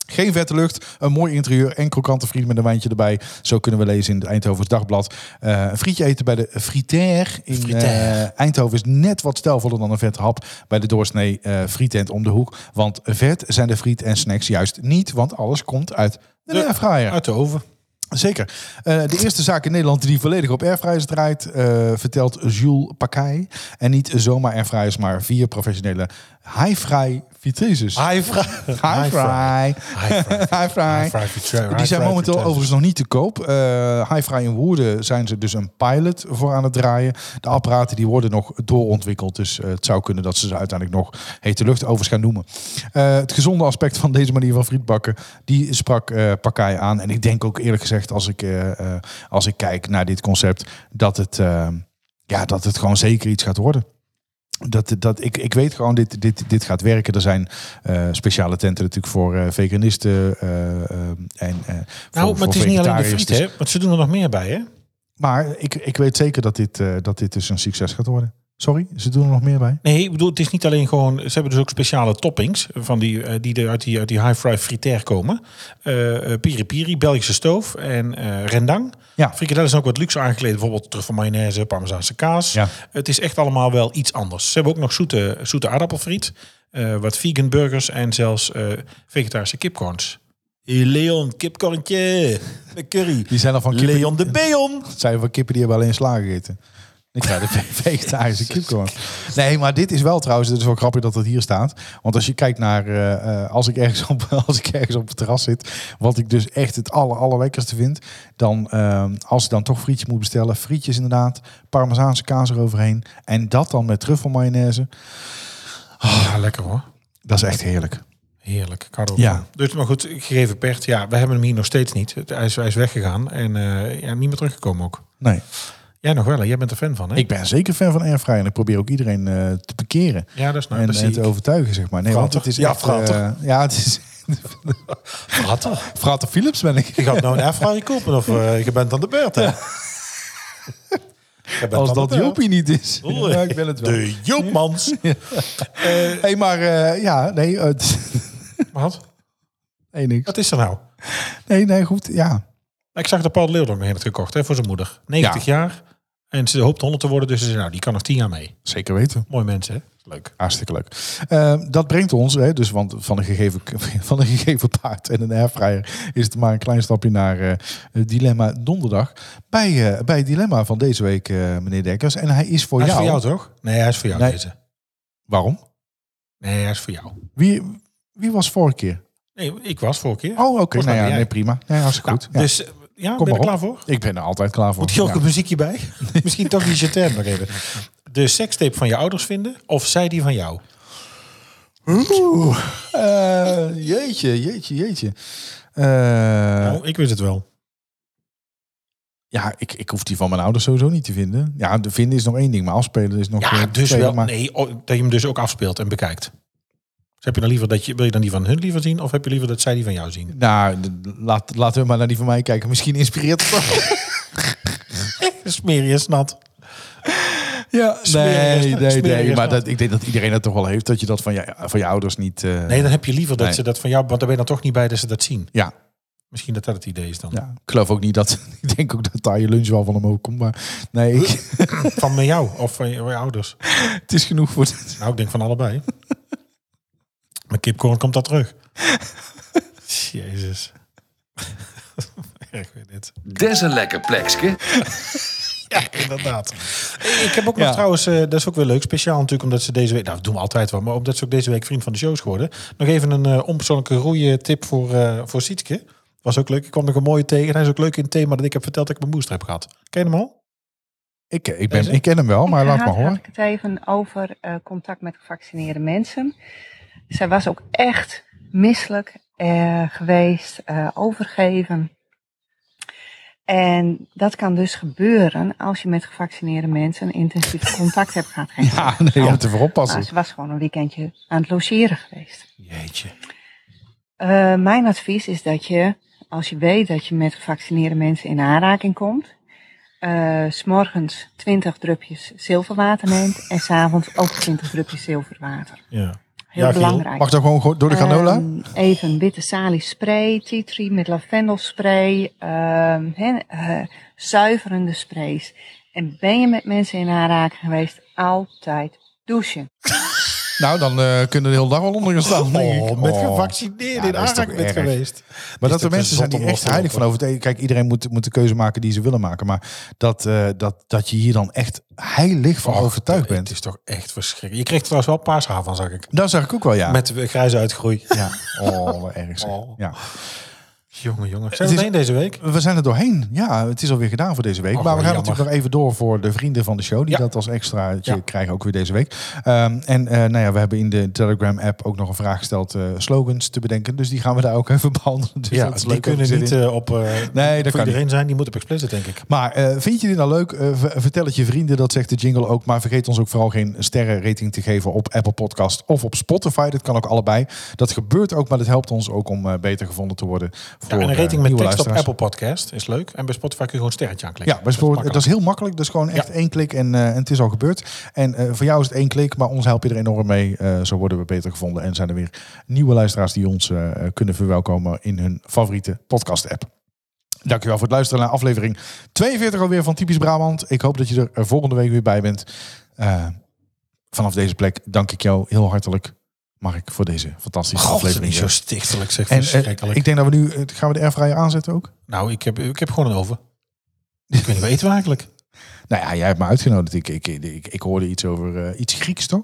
S1: Geen vette lucht, een mooi interieur en krokante friet met een wijntje erbij. Zo kunnen we lezen in het Eindhovens Dagblad. Eh, een frietje eten bij de Fritair in
S2: Fritair.
S1: eh, Eindhoven is net wat stijlvoller dan een vet hap bij de doorsnee eh frietent om de hoek. Want vet zijn de friet en snacks juist niet, want alles komt uit de,
S2: De-
S1: airfryer.
S2: Uit de oven.
S1: [laughs] Zeker. Eh, de eerste zaak in Nederland die volledig op airfryers draait, eh, vertelt Jules Pakay. En niet zomaar airfryers, maar vier professionele high-fry vitezes. High-fry. High-fry. Die zijn momenteel overigens nog niet te koop. Eh Hi-Fry in Woerden zijn ze dus een pilot voor aan het draaien. De apparaten die worden nog doorontwikkeld. Dus eh, het zou kunnen dat ze ze uiteindelijk nog hete luchtovens gaan noemen. Eh, het gezonde aspect van deze manier van frietbakken, die sprak eh Pakkai aan. En ik denk ook eerlijk gezegd, als ik, eh, eh, als ik kijk naar dit concept, dat het, eh, ja, dat het gewoon zeker iets gaat worden. Dat, dat, ik, ik weet gewoon, dit, dit, dit gaat werken. Er zijn eh, speciale tenten natuurlijk voor eh, veganisten. eh, eh, en, eh,
S2: Nou, maar het is niet alleen de friet,
S1: dus-
S2: hè? Want ze doen er nog meer bij, hè?
S1: Maar ik, ik weet zeker dat dit, eh, dat dit dus een succes gaat worden. Sorry, ze doen er nog meer bij.
S2: Nee, ik bedoel, het is niet alleen gewoon... Ze hebben dus ook speciale toppings van die, eh, die er uit die, uit die high-fry fritair komen. Eh, eh, piri piri, Belgische stoof en eh, rendang.
S1: Ja.
S2: Frikadellen zijn ook wat luxe aangekleed. Bijvoorbeeld terug van mayonaise, parmezaanse kaas.
S1: Ja.
S2: Het is echt allemaal wel iets anders. Ze hebben ook nog zoete, zoete aardappelfriet. eh, wat vegan burgers en zelfs eh, vegetarische kipcorns. Hey Leon, kipcorntje. Met curry.
S1: Die zijn al van kippen-
S2: Leon de Beon.
S1: Het zijn wel kippen die hebben alleen slagen gegeten. Ik ga
S2: [laughs]
S1: de ve- vegetarische kipcorn. Nee, maar dit is wel trouwens, het is wel grappig dat het hier staat. Want als je kijkt naar, eh, eh, als, ik ergens op, [laughs] als ik ergens op het terras zit, wat ik dus echt het aller, allerlekkerste vind, dan ehm, als ik dan toch frietjes moet bestellen, frietjes inderdaad, parmezaanse kaas eroverheen en dat dan met truffelmayonaise,
S2: Ja, Ah, lekker hoor.
S1: dat is echt heerlijk.
S2: Heerlijk, ik hou er ook
S1: Ja.
S2: van. Dus, maar goed, gegeven Pert, ja, we hebben hem hier nog steeds niet. Het- Hij is, hij is weggegaan en eh, ja, niet meer teruggekomen ook.
S1: Nee,
S2: Jij nog wel, hè? jij bent er fan van, hè?
S1: ik ben zeker fan van airfryer en ik probeer ook iedereen eh, te bekeren.
S2: Ja, dat is nou,
S1: en,
S2: dat
S1: en te
S2: zie ik.
S1: overtuigen, zeg maar. Nee, want het
S2: Frater.
S1: is
S2: Ja,
S1: echt,
S2: frater.
S1: eh, ja, het is... [laughs]
S2: [laughs] Frater.
S1: Frater Philips ben ik.
S2: Je gaat nou een airfryer kopen of eh, je bent aan de beurt, hè? Je bent
S1: Als
S2: aan de
S1: dat
S2: beurt.
S1: Jopie niet is.
S2: Oei.
S1: Ja, ik ben het wel.
S2: De Joopmans.
S1: hey, maar eh, ja, nee, eh, [laughs] het-
S2: [laughs] Wat?
S1: nee, niks.
S2: Wat is er nou?
S1: Nee, nee, goed, ja.
S2: Ik zag dat Paul de Leeuw er nog een heeft gekocht hè, voor zijn moeder. 90 jaar. En ze hoopt 100 te worden, dus ze zei, nou, die kan nog 10 jaar mee.
S1: Zeker weten.
S2: Mooi mensen, hè? Leuk.
S1: Hartstikke leuk. Eh, dat brengt ons, hè, dus want van een, gegeven, [laughs] van een gegeven paard en een airfryer is het maar een klein stapje naar eh, het Dilemma Donderdag. Bij, eh, bij het Dilemma van deze week, eh, meneer Dekkers. En hij is voor
S2: Hij is
S1: jou.
S2: voor jou, toch? Nee, hij is voor jou
S1: Nee.
S2: deze.
S1: Waarom?
S2: Nee, hij is voor jou.
S1: Wie, wie was vorige keer?
S2: Nee, ik was vorige keer.
S1: Oh, oké.
S2: Volgens mij
S1: Nou ja,
S2: ben jij.
S1: nee, prima. Nee, hartstikke goed. Ja.
S2: Dus eh, ja,
S1: Kom
S2: ben je
S1: maar
S2: er klaar
S1: op.
S2: voor?
S1: Ik ben er altijd klaar voor.
S2: Moet je ook
S1: Ja.
S2: een muziekje bij? [laughs] Misschien toch die jetem nog even. De sekstape van je ouders vinden of zij die van jou?
S1: Oeh, eh, jeetje, jeetje, jeetje. Eh,
S2: nou, ik wist het wel.
S1: Ja, ik, ik hoef die van mijn ouders sowieso niet te vinden. Ja, de vinden is nog één ding, maar afspelen is nog...
S2: Ja,
S1: eh,
S2: dus
S1: tweede,
S2: wel.
S1: maar-
S2: Nee, oh, dat je hem dus ook afspeelt en bekijkt. Dus heb je dan liever dat je, wil je dan die van hun liever zien of heb je liever dat zij die van jou
S1: [laughs]
S2: zien?
S1: Nou, d- laat, laten we maar naar die van mij kijken. Misschien inspireert het wel.
S2: [laughs] Smeer je nat.
S1: ja,
S2: smerig
S1: [laughs]
S2: is-
S1: nee, nee,
S2: smerig
S1: nee.
S2: is
S1: Maar
S2: dat.
S1: dat, ik denk dat iedereen dat toch wel heeft. Dat je dat van je, van je ouders niet... eh,
S2: Nee, dan heb je liever dat
S1: Nee.
S2: ze dat van jou, want dan ben je dan toch niet bij dat ze dat zien.
S1: Ja,
S2: Misschien dat dat het idee is dan.
S1: Ja, ik geloof ook niet dat. [laughs] Ik denk ook dat daar je lunch wel van hem ook komt. Maar nee,
S2: [laughs]
S1: ik-
S2: Van met jou of van je, van je ouders.
S1: het is genoeg voor. dit.
S2: Nou, ik denk van allebei. Mijn kipcorn komt dat terug. Jezus. [laughs] Erg weer dit.
S3: Des een lekker plekske.
S2: Inderdaad. Ik heb ook nog
S1: Ja.
S2: trouwens, eh, dat is ook weer leuk, speciaal natuurlijk omdat ze deze week, nou dat doen we altijd wel, maar omdat ze ook deze week vriend van de show is geworden. Nog even een eh, onpersoonlijke goede tip voor, eh voor Sietske. Was ook leuk. Ik kwam nog een mooie tegen. Hij is ook leuk in het thema dat ik heb verteld dat ik mijn booster heb gehad. Ken je hem al?
S1: Ik, ik, ben,
S2: Deze?
S1: ik ken hem wel, maar laat
S5: Inderdaad
S1: maar horen.
S5: had ik het even over eh, contact met gevaccineerde mensen. Zij was ook echt misselijk eh, geweest, eh, overgeven. En dat kan dus gebeuren als je met gevaccineerde mensen intensief contact hebt gehad.
S1: Ja, nee, je moet ervoor
S5: Nou,
S1: oppassen.
S5: ze was gewoon een weekendje aan het logeren geweest.
S2: Jeetje.
S5: Eh, mijn advies is dat je, als je weet dat je met gevaccineerde mensen in aanraking komt, eh, s s'morgens 20 drupjes zilverwater neemt en s'avonds ook 20 drupjes zilverwater.
S2: Ja.
S5: Heel
S2: Ja, Giel,
S5: belangrijk.
S1: Mag dat gewoon go- door de granola?
S5: Ehm, even witte salie spray, tea tree met lavendelspray, ehm, hè, eh, zuiverende sprays. En ben je met mensen in aanraking geweest, altijd douchen.
S1: Nou, dan eh, kunnen we de hele dag wel onder gaan staan. denk ik.
S2: Oh, met
S1: Oh.
S2: gevaccineerden
S1: Ja,
S2: in
S1: dat is toch
S2: aanraking bent
S1: erg.
S2: geweest.
S1: Maar
S2: Is
S1: dat er
S2: toch
S1: mensen zijn die
S2: gezond om
S1: echt
S2: los te
S1: heilig van
S2: lopen?
S1: over. Kijk, iedereen moet, moet de keuze maken die ze willen maken. Maar dat, eh, dat, dat je hier dan echt heilig van
S2: Och,
S1: overtuigd
S2: Het
S1: bent.
S2: is toch echt verschrikkelijk. Je kreeg er trouwens wel paashaar van, zag ik.
S1: Daar zag ik ook wel, ja.
S2: Met de grijze uitgroei.
S1: Ja, oh, wat erg zeg.
S2: Oh.
S1: Ja.
S2: Jongen, jongen.
S1: Het
S2: Zijn
S1: is-
S2: we alleen deze week?
S1: We zijn er doorheen. Ja, het is alweer gedaan voor deze week.
S2: Oh,
S1: maar we gaan
S2: jammer.
S1: natuurlijk nog even door voor de vrienden van de show. Die
S2: Ja.
S1: dat als extraatje
S2: Ja.
S1: krijgen ook weer deze week. Ehm, en eh, nou ja, we hebben in de Telegram-app ook nog een vraag gesteld eh, slogans te bedenken. Dus die gaan we daar ook even [laughs] behandelen. Dus dat is
S2: die
S1: leuk.
S2: kunnen
S1: Zit
S2: niet
S1: in.
S2: eh, op eh
S1: Nee, dat kan
S2: voor
S1: niet.
S2: iedereen zijn. Die moet op explicit, denk ik.
S1: Maar eh, vind je dit nou leuk? Eh, ver- vertel het je vrienden, dat zegt de jingle ook. Maar vergeet ons ook vooral geen sterrenrating te geven op Apple Podcast of op Spotify. Dat kan ook allebei. Dat gebeurt ook, maar dat helpt ons ook om eh, beter gevonden te worden. Voor,
S2: Ja, en een
S1: eh,
S2: rating
S1: nieuwe
S2: met tekst op
S1: luisteraars.
S2: Apple Podcast is leuk. En bij Spotify kun je gewoon een sterretje aanklikken.
S1: Ja, bij Spotify- dat, is
S2: makkelijk.
S1: heel makkelijk. Dat is gewoon echt
S2: Ja.
S1: één klik en, eh, en het is al gebeurd. En eh, voor jou is het één klik, maar ons help je er enorm mee. Eh, zo worden we beter gevonden en zijn er weer nieuwe luisteraars die ons eh, eh, kunnen verwelkomen in hun favoriete podcast-app. Dankjewel voor het luisteren naar aflevering 42 alweer van Typisch Brabant. Ik hoop dat je er eh, volgende week weer bij bent. Eh, vanaf deze plek dank ik jou heel hartelijk, Mark, voor deze fantastische
S2: God, het is
S1: aflevering.
S2: niet zo stichtelijk, zeg.
S1: en eh,
S2: verschrikkelijk.
S1: ik denk dat we nu... eh, gaan we de airfryer aanzetten ook?
S2: nou, ik heb, ik heb gewoon een oven. Ik weet niet wat eten we
S1: [laughs]
S2: eigenlijk.
S1: Nou ja, jij hebt me uitgenodigd. Ik, ik, ik, ik hoorde iets over eh, iets Grieks, toch?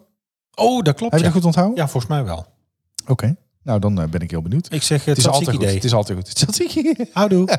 S2: Oh, dat
S1: Heb
S2: klopt.
S1: je
S2: ja.
S1: dat goed onthouden?
S2: ja, volgens mij wel.
S1: Oké. Nou, dan eh, ben ik heel benieuwd.
S2: Ik zeg, het
S1: Het is,
S2: is een
S1: altijd
S2: ziek
S1: goed.
S2: idee.
S1: het is altijd goed. Het is altijd goed.
S2: Houdoe.